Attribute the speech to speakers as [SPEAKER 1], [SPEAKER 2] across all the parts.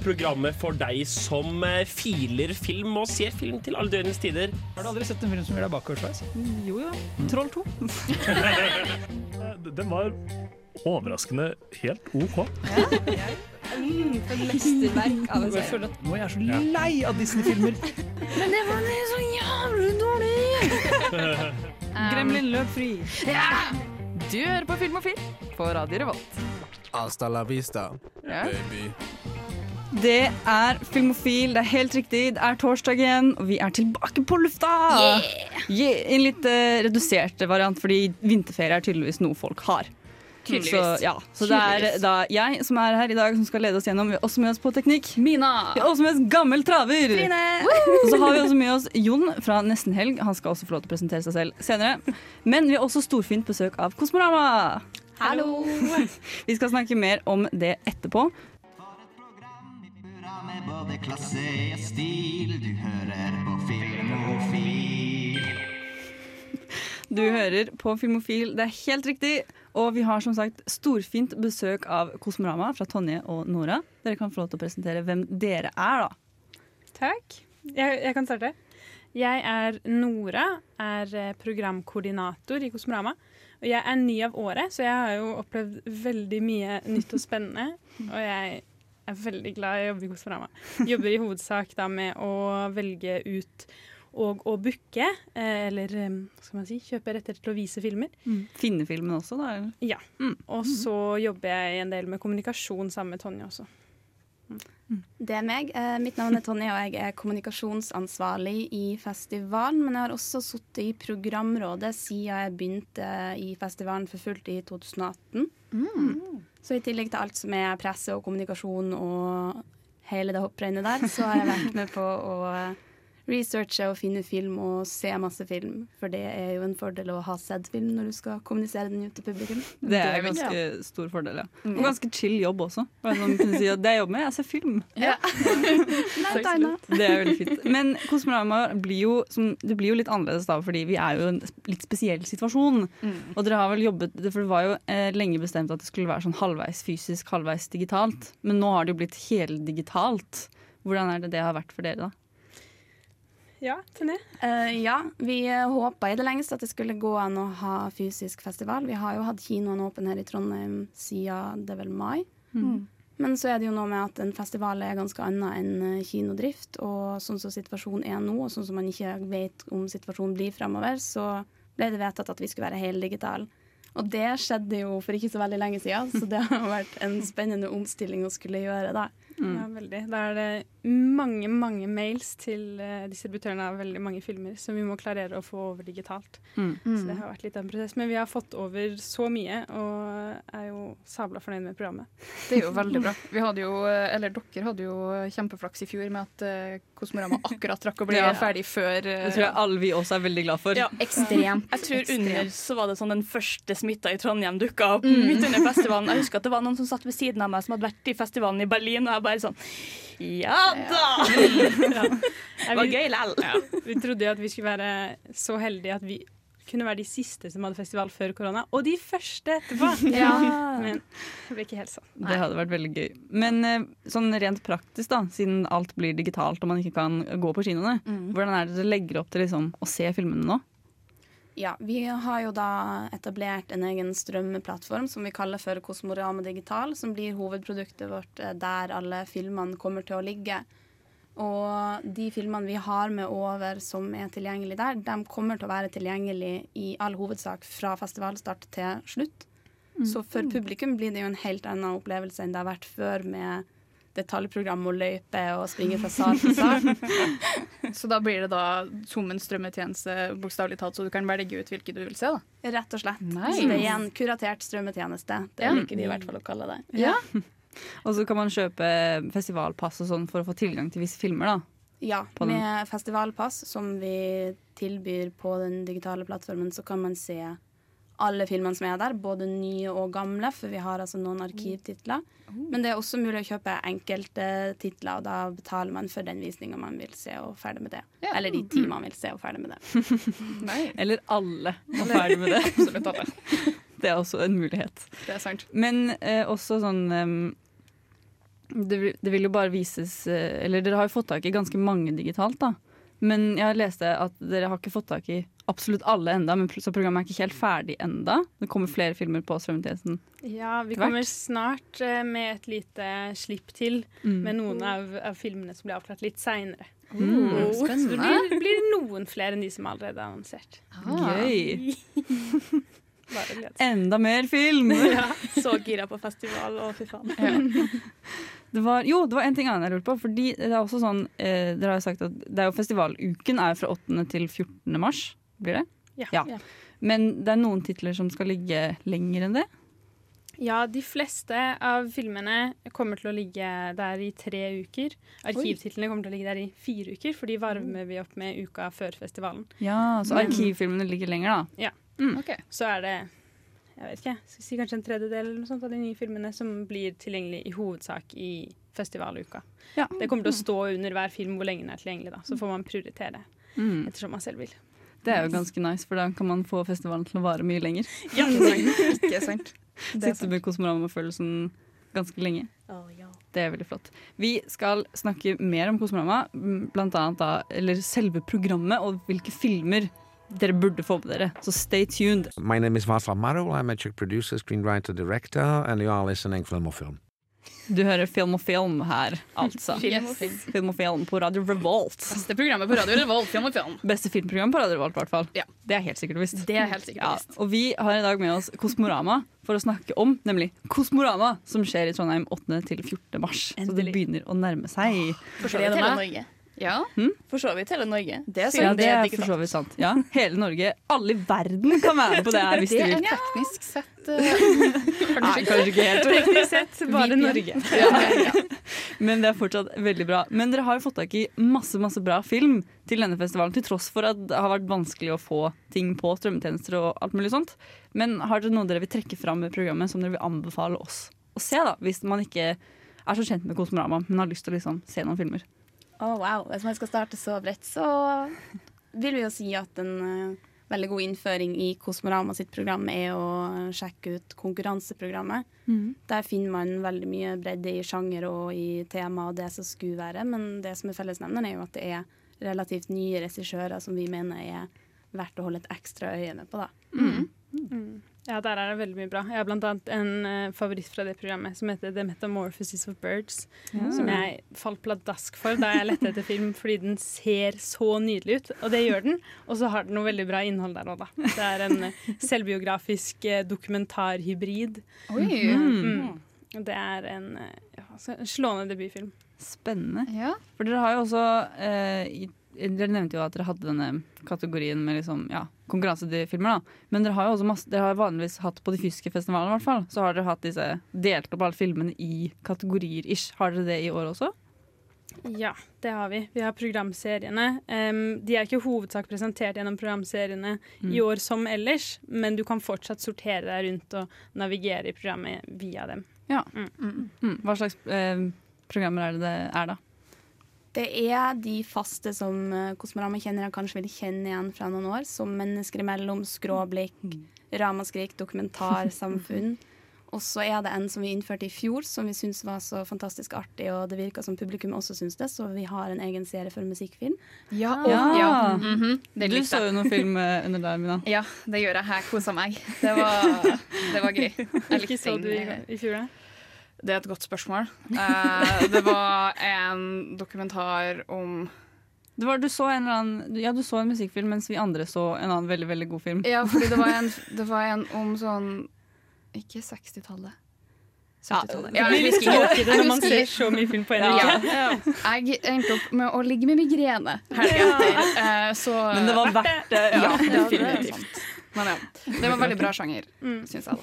[SPEAKER 1] programmet for deg som eh, filer film og ser film til alle døgnets tider.
[SPEAKER 2] Har du aldri sett en film som gjør deg bakoversveis?
[SPEAKER 3] Mm,
[SPEAKER 4] Jo jo. Troll 2.
[SPEAKER 5] Eh, Den var overraskende helt OK.
[SPEAKER 4] For et mesterverk av en
[SPEAKER 2] Jeg
[SPEAKER 4] serie.
[SPEAKER 2] føler at nå er jeg så lei av Disney-filmer.
[SPEAKER 6] Men det var så jævlig dårlig!
[SPEAKER 4] Gremlin løp fri.
[SPEAKER 6] Du hører på Filmofil på Radio Revolt.
[SPEAKER 7] Hasta la vista,
[SPEAKER 6] Ja.
[SPEAKER 7] baby.
[SPEAKER 4] Det er Filmofil, det er helt riktig. Det er torsdag igjen, og vi er tilbake på lufta! Yeah, I en litt eh, redusert variant, fordi vinterferie er tydeligvis noe folk har. Så, ja. så det er
[SPEAKER 6] Tydeligvis.
[SPEAKER 4] da jeg som er her i dag, som skal lede oss gjennom. Vi har også med oss på teknikk.
[SPEAKER 6] Mina!
[SPEAKER 4] Vi har også med oss gammel traver! Og så har vi også med oss Jon fra Nesten Helg. Han skal også få lov til å presentere seg selv senere. Men vi har også storfint besøk av Kosmorama.
[SPEAKER 6] Hallo!
[SPEAKER 4] Vi skal snakke mer om det etterpå.
[SPEAKER 8] Bra med både klasse og stil, du hører på Filmofil.
[SPEAKER 4] Du hører på Filmofil, det er helt riktig. Og vi har som sagt storfint besøk av Kosmorama fra Tonje og Nora. Dere kan få lov til å presentere hvem dere er, da.
[SPEAKER 9] Takk. Jeg, jeg kan starte. Jeg er Nora, er eh, programkoordinator i Kosmorama. Og jeg er ny av året, så jeg har jo opplevd veldig mye nytt og spennende. Og jeg er veldig glad i å jobbe i Kosmorama. Jobber i hovedsak da med å velge ut og å booke, eh, eller eh, hva skal man si, kjøpe rettigheter til å vise filmer.
[SPEAKER 4] Finnefilmen også, da. eller?
[SPEAKER 9] Ja. Og så jobber jeg en del med kommunikasjon sammen med Tonje også.
[SPEAKER 10] Det er meg. Eh, mitt navn er Tonje, og jeg er kommunikasjonsansvarlig i festivalen. Men jeg har også sittet i programrådet siden jeg begynte i festivalen for fullt i 2018. Så i tillegg til alt som er presse og kommunikasjon og hele det hopprennet der, så har jeg vært med på å researche og finne film og se masse film. For det er jo en fordel å ha sett film når du skal kommunisere den ut til publikum.
[SPEAKER 4] Det er en ganske stor fordel, ja. Og ganske chill jobb også. Bare sånn kunne si at det jeg jobber med, jeg ser film.
[SPEAKER 10] Nei, Taina.
[SPEAKER 4] Det er veldig fint. Men Kosmorama blir jo, som, det blir jo litt annerledes da, fordi vi er jo i en litt spesiell situasjon. Og dere har vel jobbet, for det var jo eh, lenge bestemt at det skulle være sånn halvveis fysisk, halvveis digitalt. Men nå har det jo blitt heldigitalt. Hvordan er det det har vært for dere, da?
[SPEAKER 9] Ja, Tonje?
[SPEAKER 10] Eh, ja, vi eh, håpa i det lengste at det skulle gå an å ha fysisk festival. Vi har jo hatt kinoen åpen her i Trondheim siden det er vel mai. Men så er det jo noe med at en festival er ganske annet enn eh, kinodrift. Og sånn som situasjonen er nå, og sånn som man ikke vet om situasjonen blir framover, så ble det vedtatt at vi skulle være heldigitale. Og det skjedde jo for ikke så veldig lenge siden, så det har vært en spennende omstilling å skulle gjøre da.
[SPEAKER 3] Mm.
[SPEAKER 9] Ja, veldig. Da er det mange, mange mails til eh, distributørene av veldig mange filmer som vi må klarere å få over digitalt.
[SPEAKER 3] Mm.
[SPEAKER 9] Så det har vært litt av en prosess. Men vi har fått over så mye, og er jo sabla fornøyd med programmet.
[SPEAKER 6] Det er jo veldig bra. Vi hadde jo, eh, eller dere hadde jo eh, kjempeflaks i fjor med at eh, Kosmorama akkurat rakk å bli
[SPEAKER 4] Ja.
[SPEAKER 6] ferdig før eh,
[SPEAKER 4] Det tror jeg alle vi også er veldig glad for.
[SPEAKER 3] Ja.
[SPEAKER 6] Ekstremt.
[SPEAKER 3] Jeg tror
[SPEAKER 6] ekstremt.
[SPEAKER 3] under så var det sånn den første smitta i Trondheim dukka opp midt under festivalen. Jeg husker at det var noen som satt ved siden av meg som hadde vært i festivalen i Berlin, og jeg bare sånn Ja da! Det var
[SPEAKER 9] vi,
[SPEAKER 3] gøy lell.
[SPEAKER 9] vi trodde jo at vi skulle være så heldige at vi kunne være de siste som hadde festival før korona, og de første etterpå! Men det ble ikke helt sånn.
[SPEAKER 4] Det hadde vært veldig gøy. Men eh, sånn rent praktisk, da, siden alt blir digitalt og man ikke kan gå på kinoene, hvordan er det dere legger opp til liksom, å se filmene nå?
[SPEAKER 10] Ja, vi har jo da etablert en egen strømmeplattform som vi kaller for Kosmorama Digital, som blir hovedproduktet vårt eh, der alle filmene kommer til å ligge. Og de filmene vi har med over som er tilgjengelig der, de kommer til å være tilgjengelig i all hovedsak fra festivalstart til slutt. Så for
[SPEAKER 6] Mm.
[SPEAKER 10] publikum blir det jo en helt annen opplevelse enn det har vært før med detaljprogram og løype og springe fra sal til sal.
[SPEAKER 6] Så da blir det da som en strømmetjeneste, bokstavelig talt, så du kan velge ut hvilke du vil se, da.
[SPEAKER 10] Rett og slett.
[SPEAKER 6] Nice.
[SPEAKER 10] Så det er en kuratert strømmetjeneste. Det
[SPEAKER 6] Ja.
[SPEAKER 10] liker vi i hvert fall å kalle det.
[SPEAKER 6] Ja.
[SPEAKER 4] Og så kan man kjøpe festivalpass og sånn for å få tilgang til visse filmer, da.
[SPEAKER 10] Ja,
[SPEAKER 4] på den.
[SPEAKER 10] med festivalpass som vi tilbyr på den digitale plattformen, så kan man se alle filmene som er der, både nye og gamle, for vi har altså noen
[SPEAKER 4] Mm.
[SPEAKER 10] arkivtitler.
[SPEAKER 4] Oh.
[SPEAKER 10] Men det er også mulig å kjøpe enkelte titler, og da betaler man for den visninga man vil se, og ferdig med det.
[SPEAKER 6] Ja.
[SPEAKER 10] Eller
[SPEAKER 4] Mm.
[SPEAKER 10] de timene man vil se, og ferdig med det.
[SPEAKER 6] Nei,
[SPEAKER 4] Eller alle. Og ferdig med det.
[SPEAKER 6] absolutt alle.
[SPEAKER 4] Det er også en mulighet.
[SPEAKER 6] Det er sant.
[SPEAKER 4] Men eh, også sånn eh, ehm, det, vil- det vil jo bare vises eh, Eller dere har jo fått tak i ganske mange digitalt, da. Men jeg leste at dere har ikke fått tak i absolutt alle enda, men pr- så programmet er ikke helt ferdig enda. Det kommer flere filmer på strømmetjenesten.
[SPEAKER 9] Ja, vi
[SPEAKER 4] Etter hvert.
[SPEAKER 9] kommer snart eh, med et lite slipp til
[SPEAKER 4] Mm.
[SPEAKER 9] med noen av, av filmene som blir avklart litt seinere.
[SPEAKER 4] Mm,
[SPEAKER 9] Så det
[SPEAKER 4] spennende.
[SPEAKER 9] blir, blir noen flere enn de som allerede er annonsert.
[SPEAKER 4] Ah. Gøy!
[SPEAKER 9] Bare glede seg.
[SPEAKER 4] Enda mer film!
[SPEAKER 3] Ja, så gira på festival, å fy faen.
[SPEAKER 4] Det var, jo, det var en ting annet jeg lurte på. Fordi det er også sånn, eh, dere har jo sagt at det er jo Festivaluken er jo fra 8. til 14. mars. Blir det?
[SPEAKER 9] Ja. Ja.
[SPEAKER 4] Men det er noen titler som skal ligge lenger enn det.
[SPEAKER 9] Ja, de fleste av filmene kommer til å ligge der i tre uker. Arkivtitlene kommer til å ligge der i fire uker, for de varmer vi opp med uka før festivalen.
[SPEAKER 4] Ja, mm. Så
[SPEAKER 9] Men-
[SPEAKER 4] arkivfilmene ligger lenger, da.
[SPEAKER 9] Ja. Så er det jeg vet ikke, skal vi si kanskje en tredjedel eller noe sånt av de nye filmene som blir tilgjengelig i hovedsak i festivaluka.
[SPEAKER 4] Ja.
[SPEAKER 9] Det kommer til å stå under hver film hvor lenge den er tilgjengelig. da, Så får man prioritere
[SPEAKER 4] Mm.
[SPEAKER 9] ettersom man selv vil.
[SPEAKER 4] Det er jo ganske nice, for da kan man få festivalen til å vare mye lenger.
[SPEAKER 9] Ja,
[SPEAKER 3] ikke sant.
[SPEAKER 4] Sitte med Kosmorama-følelsen ganske lenge. Det er veldig flott. Vi skal snakke mer om Kosmorama, m, blant annet da, eller selve programmet og hvilke filmer dere burde få på dere. Så stay tuned.
[SPEAKER 11] My name is Václav Marou. I'm a Czech producer, screenwriter, director, and you are listening Film or Film.
[SPEAKER 4] Du hører Film og Film her, altså.
[SPEAKER 6] Film og Film.
[SPEAKER 4] Film og Film på Radio Revolt.
[SPEAKER 6] Beste programmet på radio Revolt, film og film.
[SPEAKER 4] Beste filmprogram på Radio Revolt, i hvert fall. Det er helt sikkert og visst.
[SPEAKER 6] Det er helt sikkert og
[SPEAKER 4] Ja, og vi har i dag med oss Kosmorama for å snakke om nemlig Kosmorama, som skjer i Trondheim 8. til 14. mars. Så det begynner å nærme seg.
[SPEAKER 3] For så vidt hele Norge.
[SPEAKER 4] Hmm?
[SPEAKER 3] For så vidt hele Norge. Det
[SPEAKER 4] ja, det er for så vidt sant. Ja, hele Norge, alle i verden kan være med på det her hvis de vil.
[SPEAKER 6] er teknisk sett
[SPEAKER 4] Nei, kanskje ikke helt.
[SPEAKER 9] Teknisk sett bare
[SPEAKER 4] VPN.
[SPEAKER 9] Norge.
[SPEAKER 4] Men det er fortsatt veldig bra. Men dere har jo fått tak i masse masse bra film til denne festivalen, til tross for at det har vært vanskelig å få ting på strømmetjenester og alt mulig sånt. Men har dere noe dere vil trekke fram med programmet som dere vil anbefale oss å se, da? Hvis man ikke er så kjent med Kosmorama, men har lyst til å liksom se noen filmer.
[SPEAKER 10] Å, wow. Hvis man skal starte så bredt, så vil vi jo si at en eh, veldig god innføring i Kosmorama sitt program er å sjekke ut konkurranseprogrammet.
[SPEAKER 4] Mhm.
[SPEAKER 10] Der finner man veldig mye bredde i sjanger og i tema og det som skulle være, men det som er fellesnevneren, er jo at det er relativt nye regissører som vi mener er verdt å holde et ekstra øye med på, da.
[SPEAKER 9] Mm. Ja, der er det veldig mye bra. Jeg har blant annet en eh, favoritt fra det programmet som heter The Metamorphosis of Birds.
[SPEAKER 4] Ja.
[SPEAKER 9] Som jeg falt pladask for da jeg lette etter film, fordi den ser så nydelig ut. Og det gjør den. Og så har den noe veldig bra innhold der òg, da. Det er en eh, selvbiografisk eh, dokumentarhybrid.
[SPEAKER 6] Oi.
[SPEAKER 4] Hmm.
[SPEAKER 9] Mm. Og Det er en eh, ja, altså, en slående debutfilm.
[SPEAKER 4] Spennende. For dere har jo også eh, i- Dere nevnte jo at dere hadde denne kategorien med liksom, ja, konkurransefilmer. da. Men dere har jo også masse, dere har vanligvis hatt på de fysiske festivalene, i hvert fall. Så har dere hatt disse, delt opp alle filmene i kategorier ish. Har dere det i år også?
[SPEAKER 9] Ja, det har vi. Vi har programseriene. Em, de er ikke i hovedsak presentert gjennom programseriene i
[SPEAKER 4] Mm.
[SPEAKER 9] år som ellers, men du kan fortsatt sortere deg rundt og navigere i programmet via dem.
[SPEAKER 4] Ja.
[SPEAKER 9] Mm.
[SPEAKER 4] Mm. Hva slags eh, programmer er det det er, da?
[SPEAKER 10] Det er de faste som eh, Kosmorama kjenner jeg kanskje vil kjenne igjen fra noen år, som Mennesker imellom, Skråblikk, Ramaskrik, Dokumentarsamfunn. Og så er det en som vi innførte i fjor, som vi syntes var så fantastisk artig, og det virka som publikum også syns det, så vi har en egen serie for musikkfilm.
[SPEAKER 6] Ja,
[SPEAKER 4] og- Ja. ja.
[SPEAKER 9] Mm,
[SPEAKER 6] det
[SPEAKER 4] Ah, du
[SPEAKER 6] likte
[SPEAKER 4] så
[SPEAKER 6] jeg.
[SPEAKER 4] jo noen film eh, under der, Mina.
[SPEAKER 6] Ja, det gjør jeg. Her kosa meg. Det var, det var gøy. Jeg
[SPEAKER 9] Hvilke så du i, går- i fjor, da?
[SPEAKER 6] Det er et godt spørsmål. Eh, det var en dokumentar om
[SPEAKER 4] Det var, du, så en eller annen, ja, du så en musikkfilm, mens vi andre så en annen veldig veldig god film.
[SPEAKER 6] Ja, fordi det var en, det var en om sånn Ikke 60-tallet. 70-tallet.
[SPEAKER 9] Det blir litt tråkig når man ser så mye film på en uke.
[SPEAKER 6] Ja. Jeg endte opp med å ligge med migrene helga etter. eh, så
[SPEAKER 4] Men det var verdt det. Ja.
[SPEAKER 6] Ja,
[SPEAKER 4] definitivt.
[SPEAKER 6] definitivt. Men ja, det var veldig bra sjanger, syns jeg. da.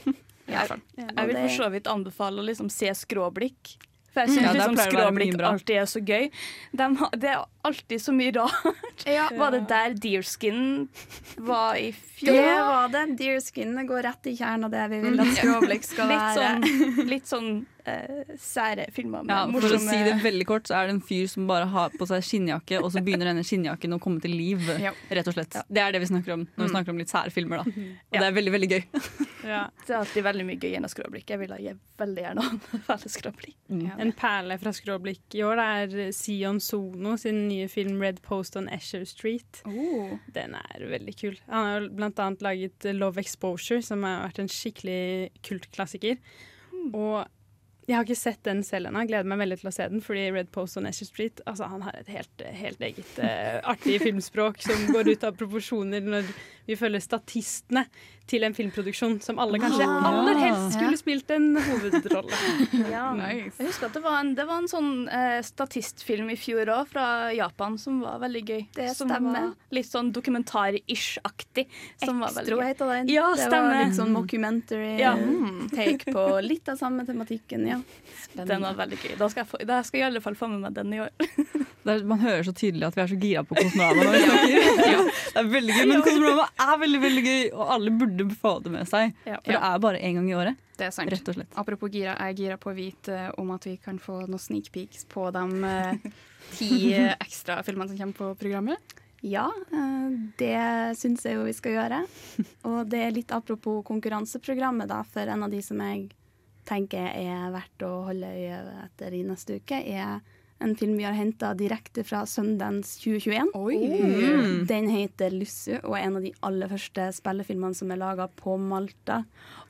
[SPEAKER 6] I hvert fall.
[SPEAKER 3] Jeg vil for så vidt anbefale å liksom se skråblikk. For jeg
[SPEAKER 4] Mm.
[SPEAKER 3] syns
[SPEAKER 4] Ja, der
[SPEAKER 3] liksom
[SPEAKER 4] pleier det å være mye
[SPEAKER 3] skråblikk
[SPEAKER 4] bra.
[SPEAKER 3] alltid er så gøy. De, har- det er alltid så mye rart. Var det der Deerskin var i fjor?
[SPEAKER 10] Det var det. Deerskinene går rett i kjernen av det vi vil at Skråblikk skal
[SPEAKER 3] Mm. Litt
[SPEAKER 10] være.
[SPEAKER 3] sånn, litt sånn eh, sære filmer med
[SPEAKER 4] Ja, for å
[SPEAKER 3] morsomme
[SPEAKER 4] si det veldig kort, så er det en fyr som bare har på seg skinnjakke, og så begynner denne skinnjakken å komme til liv,
[SPEAKER 3] Ja.
[SPEAKER 4] rett og slett. Det er det vi snakker om når vi snakker om litt sære filmer, da. Og
[SPEAKER 3] Ja.
[SPEAKER 4] det er veldig, veldig gøy.
[SPEAKER 3] Det er alltid veldig mye gøy gjennom skråblikk. Jeg vil ha jeg veldig gjerne ha veldig skråblikk.
[SPEAKER 9] En perle fra skråblikk i år det er Sion Sono sin nye film 'Red Post on Esher Street'.
[SPEAKER 3] Oh.
[SPEAKER 9] Den er veldig kul. Han har jo blant annet laget 'Love Exposure', som har vært en skikkelig kultklassiker.
[SPEAKER 3] Hmm.
[SPEAKER 9] Og jeg har ikke sett den selv ennå. Jeg Gleder meg veldig til å se den, fordi 'Red Post on Esher Street' altså, han har et helt, helt eget eh, artig filmspråk som går ut av proporsjoner når vi følger statistene til en filmproduksjon som alle kanskje
[SPEAKER 3] Ah.
[SPEAKER 9] aller helst
[SPEAKER 3] Ja.
[SPEAKER 9] skulle spilt en hovedrolle.
[SPEAKER 3] Jeg husker at det var en, det var en sånn eh, statistfilm i fjor òg, fra Japan, som var veldig gøy.
[SPEAKER 10] Det
[SPEAKER 3] som
[SPEAKER 10] stemmer.
[SPEAKER 3] var Litt sånn dokumentar-ish-aktig. som var veldig
[SPEAKER 10] Extro
[SPEAKER 3] gøy.
[SPEAKER 10] heter den.
[SPEAKER 3] Ja,
[SPEAKER 10] det
[SPEAKER 3] stemmer.
[SPEAKER 10] var litt sånn mockumentary
[SPEAKER 3] Ja.
[SPEAKER 10] eh,
[SPEAKER 3] Mm.
[SPEAKER 10] take på litt av samme tematikken, ja.
[SPEAKER 3] Den var veldig gøy. Da skal, jeg få, da skal jeg i alle fall få med meg den i år.
[SPEAKER 4] Det er, man hører så tydelig at vi er så gira på Kosmorama når vi snakker. Det er veldig gøy, men Kosmorama er veldig, veldig gøy, og alle burde få det med seg.
[SPEAKER 6] Ja.
[SPEAKER 4] For det er bare én gang i året.
[SPEAKER 6] Det er sant.
[SPEAKER 4] Rett og slett.
[SPEAKER 6] Apropos gira, jeg er gira på å vite eh, om at vi kan få noen sneak peeks på de eh, ti eh, ekstra filmene som kommer på programmet.
[SPEAKER 10] Ja, eh, det syns jeg jo vi skal gjøre. Og det er litt apropos konkurranseprogrammet, da, for en av de som jeg tenker er verdt å holde øye etter i neste uke, er en film vi har henta direkte fra Sundance 2021. Mm. Den heter 'Lussu' og er en av de aller første spillefilmene som er laga på Malta.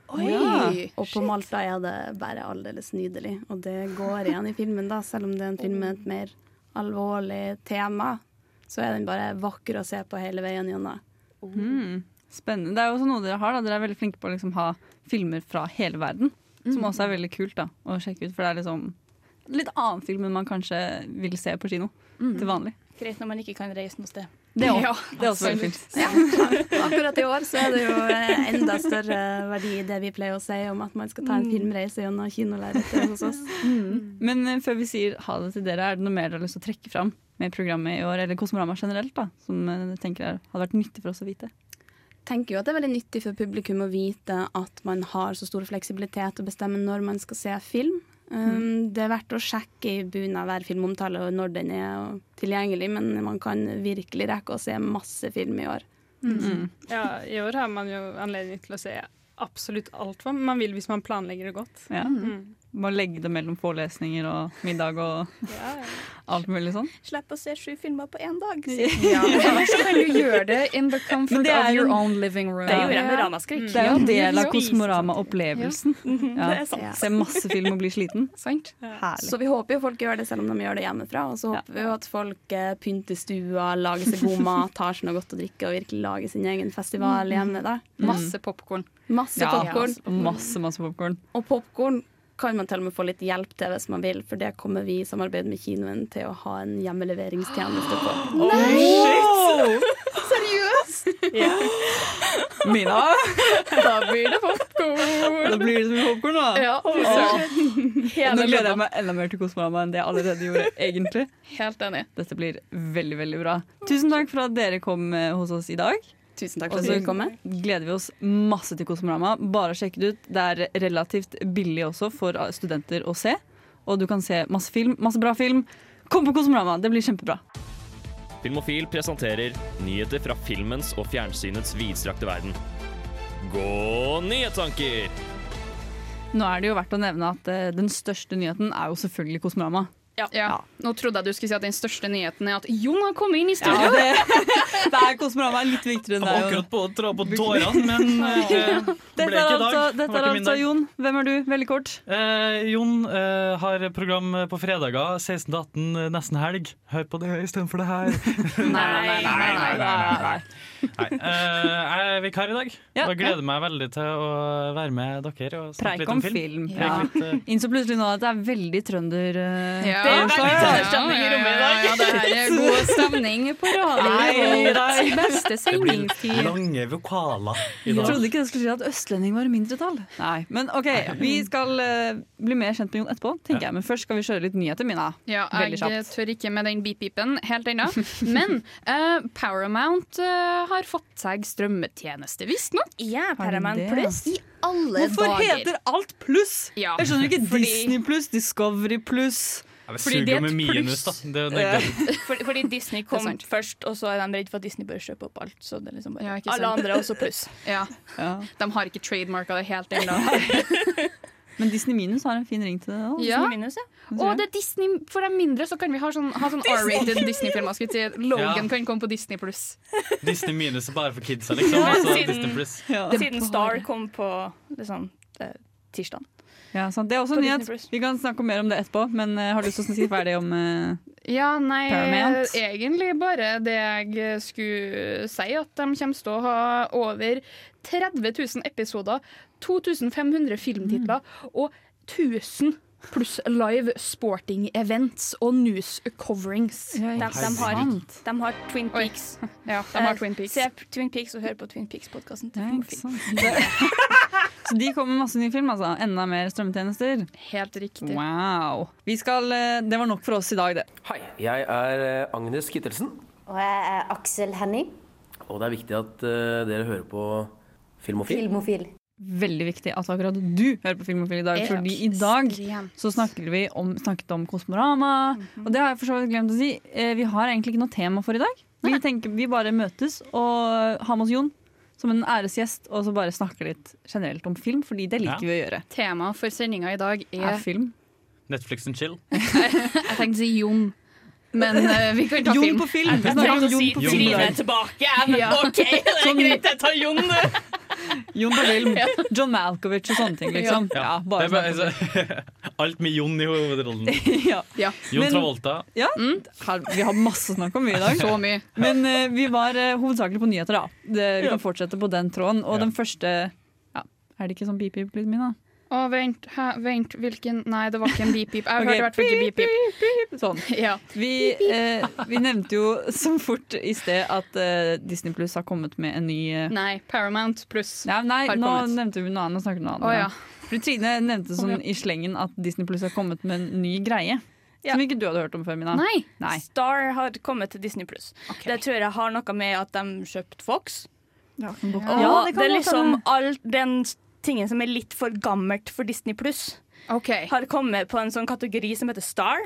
[SPEAKER 3] Oi,
[SPEAKER 10] Og på Malta er det bare aldeles nydelig. Og det går igjen i filmen, da, selv om det er en film med et mer alvorlig tema. Så er den bare vakker å se på hele veien gjennom.
[SPEAKER 4] Mm. Spennende. Det er jo også noe dere har. Da. Dere er veldig flinke på å liksom, ha filmer fra hele verden. Som også er veldig kult da, å sjekke ut, for det er liksom litt annen film enn man kanskje vil se på kino
[SPEAKER 3] Mm.
[SPEAKER 4] til vanlig.
[SPEAKER 3] Greit når man ikke kan reise noe sted.
[SPEAKER 4] Det òg.
[SPEAKER 3] Ja,
[SPEAKER 4] det er også veldig fint.
[SPEAKER 10] Ja. Akkurat i år så er det jo eh, enda større verdi i det vi pleier å si om at man skal ta en filmreise gjennom kinolerretet hos oss.
[SPEAKER 4] Men eh, før vi sier ha det til dere, er det noe mer dere har lyst til å trekke fram med programmet i år, eller Kosmorama generelt, da, som eh, dere tenker er, hadde vært nyttig for oss å vite?
[SPEAKER 10] tenker jo at det er veldig nyttig for publikum å vite at man har så stor fleksibilitet å bestemme når man skal se film. Um, det er verdt å sjekke i bunnen av hver filmomtale og når den er og tilgjengelig, men man kan virkelig rekke å se masse film i år.
[SPEAKER 9] Mm. Ja, I år har man jo anledning til å se absolutt alt hva man vil hvis man planlegger det godt.
[SPEAKER 4] Ja.
[SPEAKER 9] Mm.
[SPEAKER 4] Bare legge det mellom forelesninger og middag og alt mulig sånn.
[SPEAKER 3] Slipp å se sju filmer på én dag.
[SPEAKER 6] Ja. Ellers så kan du gjøre det in the comfort
[SPEAKER 3] Men det er
[SPEAKER 6] of your
[SPEAKER 3] jo-
[SPEAKER 6] own living room.
[SPEAKER 3] Det gjorde jeg med Ramaskrik.
[SPEAKER 4] Det er jo
[SPEAKER 6] Ja,
[SPEAKER 4] en del av
[SPEAKER 6] jo.
[SPEAKER 4] Kosmorama-opplevelsen.
[SPEAKER 10] Mm. Ja. Mhm. Det er sant.
[SPEAKER 4] Se masse film og bli sliten.
[SPEAKER 6] Sant.
[SPEAKER 4] Herlig.
[SPEAKER 10] Så vi håper jo folk gjør det selv om de gjør det hjemmefra. Og så håper vi jo at folk eh, pynter stua, lager seg god mat, tar seg noe godt å drikke og virkelig lager sin egen
[SPEAKER 3] Mm.
[SPEAKER 10] festival hjemme. Da.
[SPEAKER 6] Masse popkorn.
[SPEAKER 10] Masse
[SPEAKER 4] Ja,
[SPEAKER 10] popcorn.
[SPEAKER 4] masse, masse popcorn.
[SPEAKER 10] Og popkorn kan man til og med få litt hjelp til hvis man vil, for det kommer vi i samarbeid med kinoen til å ha en hjemmeleveringstjeneste på.
[SPEAKER 4] Oh, Mina,
[SPEAKER 6] Da blir det popkorn!
[SPEAKER 4] da blir det så mye popkorn, da.
[SPEAKER 6] Ja,
[SPEAKER 4] Åh, Nå gleder jeg meg enda mer til Kosmorama enn det jeg allerede gjorde, egentlig.
[SPEAKER 6] helt enig.
[SPEAKER 4] Dette blir veldig, veldig bra. Tusen takk for at dere kom eh, hos oss i dag.
[SPEAKER 10] Tusen takk
[SPEAKER 4] Og
[SPEAKER 10] for at
[SPEAKER 4] så
[SPEAKER 10] du kom. med.
[SPEAKER 4] gleder vi oss masse til Kosmorama. Bare sjekk det ut. Det er relativt billig også for eh, studenter å se. Og du kan se masse film, masse bra film. Kom på Kosmorama, det blir kjempebra.
[SPEAKER 12] Filmofil presenterer nyheter fra filmens og fjernsynets vidstrakte verden. Gå nyhetstanker!
[SPEAKER 4] Nå er det jo verdt å nevne at eh, den største nyheten er jo selvfølgelig Kosmorama.
[SPEAKER 6] Ja. Nå trodde jeg du skulle si at den største nyheten er at Jon har kommet inn i studio!
[SPEAKER 4] Ja, det, det er Kosmorama er litt viktigere enn det. er jo-
[SPEAKER 13] Akkurat på å dra på tårene, men eh, det
[SPEAKER 4] Dette
[SPEAKER 13] ble
[SPEAKER 4] er
[SPEAKER 13] ikke i dag.
[SPEAKER 4] altså,
[SPEAKER 13] Det
[SPEAKER 4] dette
[SPEAKER 13] var
[SPEAKER 4] er
[SPEAKER 13] ikke min
[SPEAKER 4] altså
[SPEAKER 13] dag.
[SPEAKER 4] Jon. Hvem er du? Veldig kort.
[SPEAKER 13] Eh, Jon eh, har program på fredager 16-18 eh, nesten helg. Hør på det istedenfor det her.
[SPEAKER 6] nei, nei, nei,
[SPEAKER 13] nei. Nei, eh, jeg er vikar i dag og jeg gleder meg veldig til å være med dere og snakke
[SPEAKER 4] Preik
[SPEAKER 13] litt om
[SPEAKER 4] om
[SPEAKER 13] film.
[SPEAKER 4] film.
[SPEAKER 13] Preik
[SPEAKER 4] Ja.
[SPEAKER 13] litt, eh,
[SPEAKER 4] Innså plutselig nå at det er veldig trønder eh,
[SPEAKER 6] Ja,
[SPEAKER 14] Ja,
[SPEAKER 10] så-
[SPEAKER 14] veldig tønner
[SPEAKER 6] sånn
[SPEAKER 14] stemning i rommet i dag.
[SPEAKER 10] Ja, ja, ja, det er god stemning
[SPEAKER 4] Nei,
[SPEAKER 10] på radioen.
[SPEAKER 4] nei.
[SPEAKER 10] Vårt Beste sendingstid.
[SPEAKER 13] Lange vokaler i
[SPEAKER 4] Jeg
[SPEAKER 13] dag.
[SPEAKER 4] trodde ikke det skulle si at østlending var i mindretall. Nei, Men OK, vi skal eh, bli mer kjent med Jon etterpå, tenker jeg. Men først skal vi kjøre litt nyheter, Mina.
[SPEAKER 6] Ja, jeg
[SPEAKER 4] Veldig kjapt.
[SPEAKER 6] tør ikke med den beep-beepen helt ennå. Men eh, Paramount eh, har fått seg strømmetjeneste, visstnok.
[SPEAKER 3] Ja,
[SPEAKER 4] Paramount det? Plus.
[SPEAKER 6] I alle
[SPEAKER 4] Hvorfor
[SPEAKER 6] dager.
[SPEAKER 4] heter alt pluss?
[SPEAKER 6] Ja.
[SPEAKER 4] Jeg skjønner ikke
[SPEAKER 6] Fordi-
[SPEAKER 4] Disney pluss, Discovery pluss.
[SPEAKER 13] Ja, det suger jo med minus, da. Det er jo negativt.
[SPEAKER 3] Fordi, fordi Disney kom først, og så er de redd for at Disney bør kjøpe opp alt. Så det er liksom bare
[SPEAKER 6] ikke
[SPEAKER 3] Alle
[SPEAKER 6] sant.
[SPEAKER 3] andre er også pluss.
[SPEAKER 6] Ja. De har ikke trademarka det helt ennå.
[SPEAKER 4] Men Disney minus har en fin ring til det. da.
[SPEAKER 6] Ja.
[SPEAKER 4] Disney minus,
[SPEAKER 6] Og det er Disney for de mindre, så kan vi ha sånn, ha sånn R-rated Disney-filmer. skulle jeg si. Logan
[SPEAKER 13] Ja.
[SPEAKER 6] kan komme på Disney pluss.
[SPEAKER 13] Disney minus er bare for kidsa, liksom.
[SPEAKER 3] Ja,
[SPEAKER 13] altså,
[SPEAKER 3] siden-
[SPEAKER 13] Disney pluss.
[SPEAKER 3] Siden Star kom på liksom, eh, tirsdagen.
[SPEAKER 4] Ja, sant. Det er også
[SPEAKER 3] På
[SPEAKER 4] en
[SPEAKER 3] Disney
[SPEAKER 4] nyhet. Vi kan snakke mer om det etterpå, men eh, har du lyst til å si ferdig om eh,
[SPEAKER 6] Ja, nei,
[SPEAKER 4] Paramount.
[SPEAKER 6] egentlig bare det jeg skulle si, at de kommer til å ha over 30 000 episoder, 2500 filmtitler
[SPEAKER 4] Mm.
[SPEAKER 6] og 1000 pluss live sporting events og news coverings.
[SPEAKER 3] De, de, har, de har Twin Peaks.
[SPEAKER 6] Ja, de har
[SPEAKER 3] Eh,
[SPEAKER 6] Twin Peaks.
[SPEAKER 3] Se Twin Peaks og hør på Twin Peaks-podkasten.
[SPEAKER 4] Så de kommer med masse ny film, altså. Enda mer strømmetjenester.
[SPEAKER 6] Helt riktig.
[SPEAKER 4] Wow. Vi skal, eh, det var nok for oss i dag, det.
[SPEAKER 15] Jeg er eh, Agnes Kittelsen,
[SPEAKER 16] Og jeg er Aksel Henning,
[SPEAKER 15] og det er viktig at eh, dere hører på Filmofil.
[SPEAKER 16] filmofil.
[SPEAKER 4] Veldig viktig at akkurat du hører på Filmofil i dag,
[SPEAKER 16] Ekstremt.
[SPEAKER 4] fordi i dag så snakker vi om, snakket om Kosmorama. Og det har jeg for så vidt glemt å si. Eh, Vi har egentlig ikke noe tema for i dag. Vi, tenker, vi bare møtes og har med oss Jon som en æresgjest, og så bare snakker litt generelt om film, fordi det liker
[SPEAKER 13] Ja.
[SPEAKER 4] vi å gjøre.
[SPEAKER 6] Temaet for sendinga i dag er,
[SPEAKER 4] Er film.
[SPEAKER 13] Netflix and chill.
[SPEAKER 6] Jeg tenkte å si Jon, men eh, vi kan ta
[SPEAKER 4] Jon
[SPEAKER 6] film.
[SPEAKER 4] på film. Vi snakker om Jon på film.
[SPEAKER 3] Trine er tilbake, men
[SPEAKER 6] Ja.
[SPEAKER 3] OK, det er
[SPEAKER 2] Sånn-
[SPEAKER 3] greit, jeg tar Jon.
[SPEAKER 4] Jon på film. John Malkovich og sånne ting, liksom. Ja,
[SPEAKER 13] Det
[SPEAKER 4] bare
[SPEAKER 13] er bare, altså, alt med Jon i hovedrollen.
[SPEAKER 4] ja.
[SPEAKER 13] Jon
[SPEAKER 4] Men-
[SPEAKER 13] Travolta.
[SPEAKER 4] Ja, her, Vi har masse å snakke om i dag.
[SPEAKER 13] Så
[SPEAKER 6] mye.
[SPEAKER 4] Men eh, vi var eh, hovedsakelig på nyheter, da. Det, vi kan fortsette på den tråden. Og den første ja, Er det ikke sånn beep-beep-lyden min, da?
[SPEAKER 6] Å, vent, hæ, vent, hvilken Nei, det var ikke en beep-beep. Jeg
[SPEAKER 4] Ok,
[SPEAKER 6] hørte i hvert fall ikke
[SPEAKER 4] beep,
[SPEAKER 6] beep-beep.
[SPEAKER 4] Sånn.
[SPEAKER 6] Ja.
[SPEAKER 4] Vi, eh, vi nevnte jo så fort i sted at eh, Disney Pluss har kommet med en ny eh,
[SPEAKER 6] Nei, Paramount pluss
[SPEAKER 4] Nei, nei
[SPEAKER 6] har
[SPEAKER 4] nå
[SPEAKER 6] kommet.
[SPEAKER 4] nevnte vi noe annet. Nå snakker vi noe annet.
[SPEAKER 6] Å, ja.
[SPEAKER 4] For Trine nevnte sånn i slengen at Disney Pluss har kommet med en ny greie. Som ikke du hadde hørt om før, Mina. nei.
[SPEAKER 3] Star har kommet til Disney pluss. Det tror jeg har noe med at de kjøpte Fox.
[SPEAKER 4] Ja,
[SPEAKER 3] Og det, er liksom all den tingen som er litt for gammelt for Disney pluss. Har kommet på en sånn kategori som heter Star.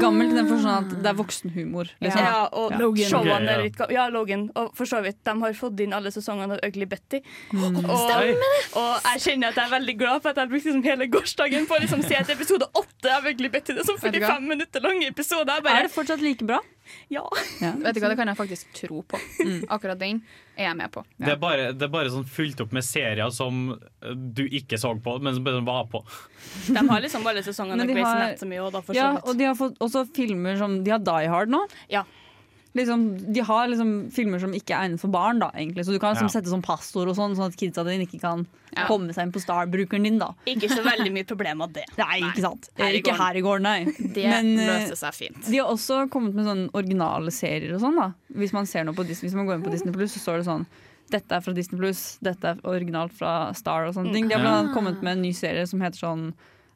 [SPEAKER 4] Gammelt i den forstand at det er voksenhumor. Liksom.
[SPEAKER 3] Mm. Ja, og
[SPEAKER 4] Ja.
[SPEAKER 3] showene
[SPEAKER 4] Ok, ja.
[SPEAKER 3] er litt ga- Ja, Logan. Og for så vidt, de har fått inn alle sesongene av Ugly Betty.
[SPEAKER 4] Mm.
[SPEAKER 3] Og, og jeg kjenner at jeg er veldig glad for at jeg brukte liksom hele gårsdagen på å liksom se et episode åtte av Ugly Betty. Det er sånn
[SPEAKER 6] Vet du hva?
[SPEAKER 3] 45 minutter lange episoder. Jeg
[SPEAKER 4] Er
[SPEAKER 3] bare
[SPEAKER 4] det fortsatt like bra?
[SPEAKER 3] Ja.
[SPEAKER 6] Vet du hva, det kan jeg faktisk tro på.
[SPEAKER 4] Mm.
[SPEAKER 6] Akkurat den er jeg med på.
[SPEAKER 13] Det er, bare, det er bare sånn fylt opp med serier som eh, du ikke så på, men som bare var på.
[SPEAKER 3] De har liksom alle sesongene
[SPEAKER 4] Men
[SPEAKER 3] av
[SPEAKER 4] de
[SPEAKER 3] Grey's
[SPEAKER 4] har-
[SPEAKER 3] Anatomy òg, da, for
[SPEAKER 4] Ja,
[SPEAKER 3] så vidt.
[SPEAKER 4] og de har fått også filmer som De har Die Hard nå. Liksom, de har liksom filmer som ikke er egnet for barn, da, egentlig. så du kan liksom
[SPEAKER 3] Ja.
[SPEAKER 4] sette sånn passord, og sånn sånn at kidsa dine ikke kan
[SPEAKER 3] Ja.
[SPEAKER 4] komme seg inn på Star-brukeren din. da
[SPEAKER 3] Ikke så veldig mye problem av det.
[SPEAKER 4] Nei, ikke sant.
[SPEAKER 3] Her i
[SPEAKER 4] ikke
[SPEAKER 3] gården.
[SPEAKER 4] her i går, nei.
[SPEAKER 3] Det
[SPEAKER 4] eh,
[SPEAKER 3] løser seg fint.
[SPEAKER 4] De har også kommet med sånne originale serier og sånn, da. Hvis man, ser noe på Disney, hvis man går inn på Disney Pluss, så står det sånn dette er fra Disney Pluss, dette er originalt fra Star og sånne ting. De har blant annet
[SPEAKER 3] Ah.
[SPEAKER 4] kommet med en ny serie som heter sånn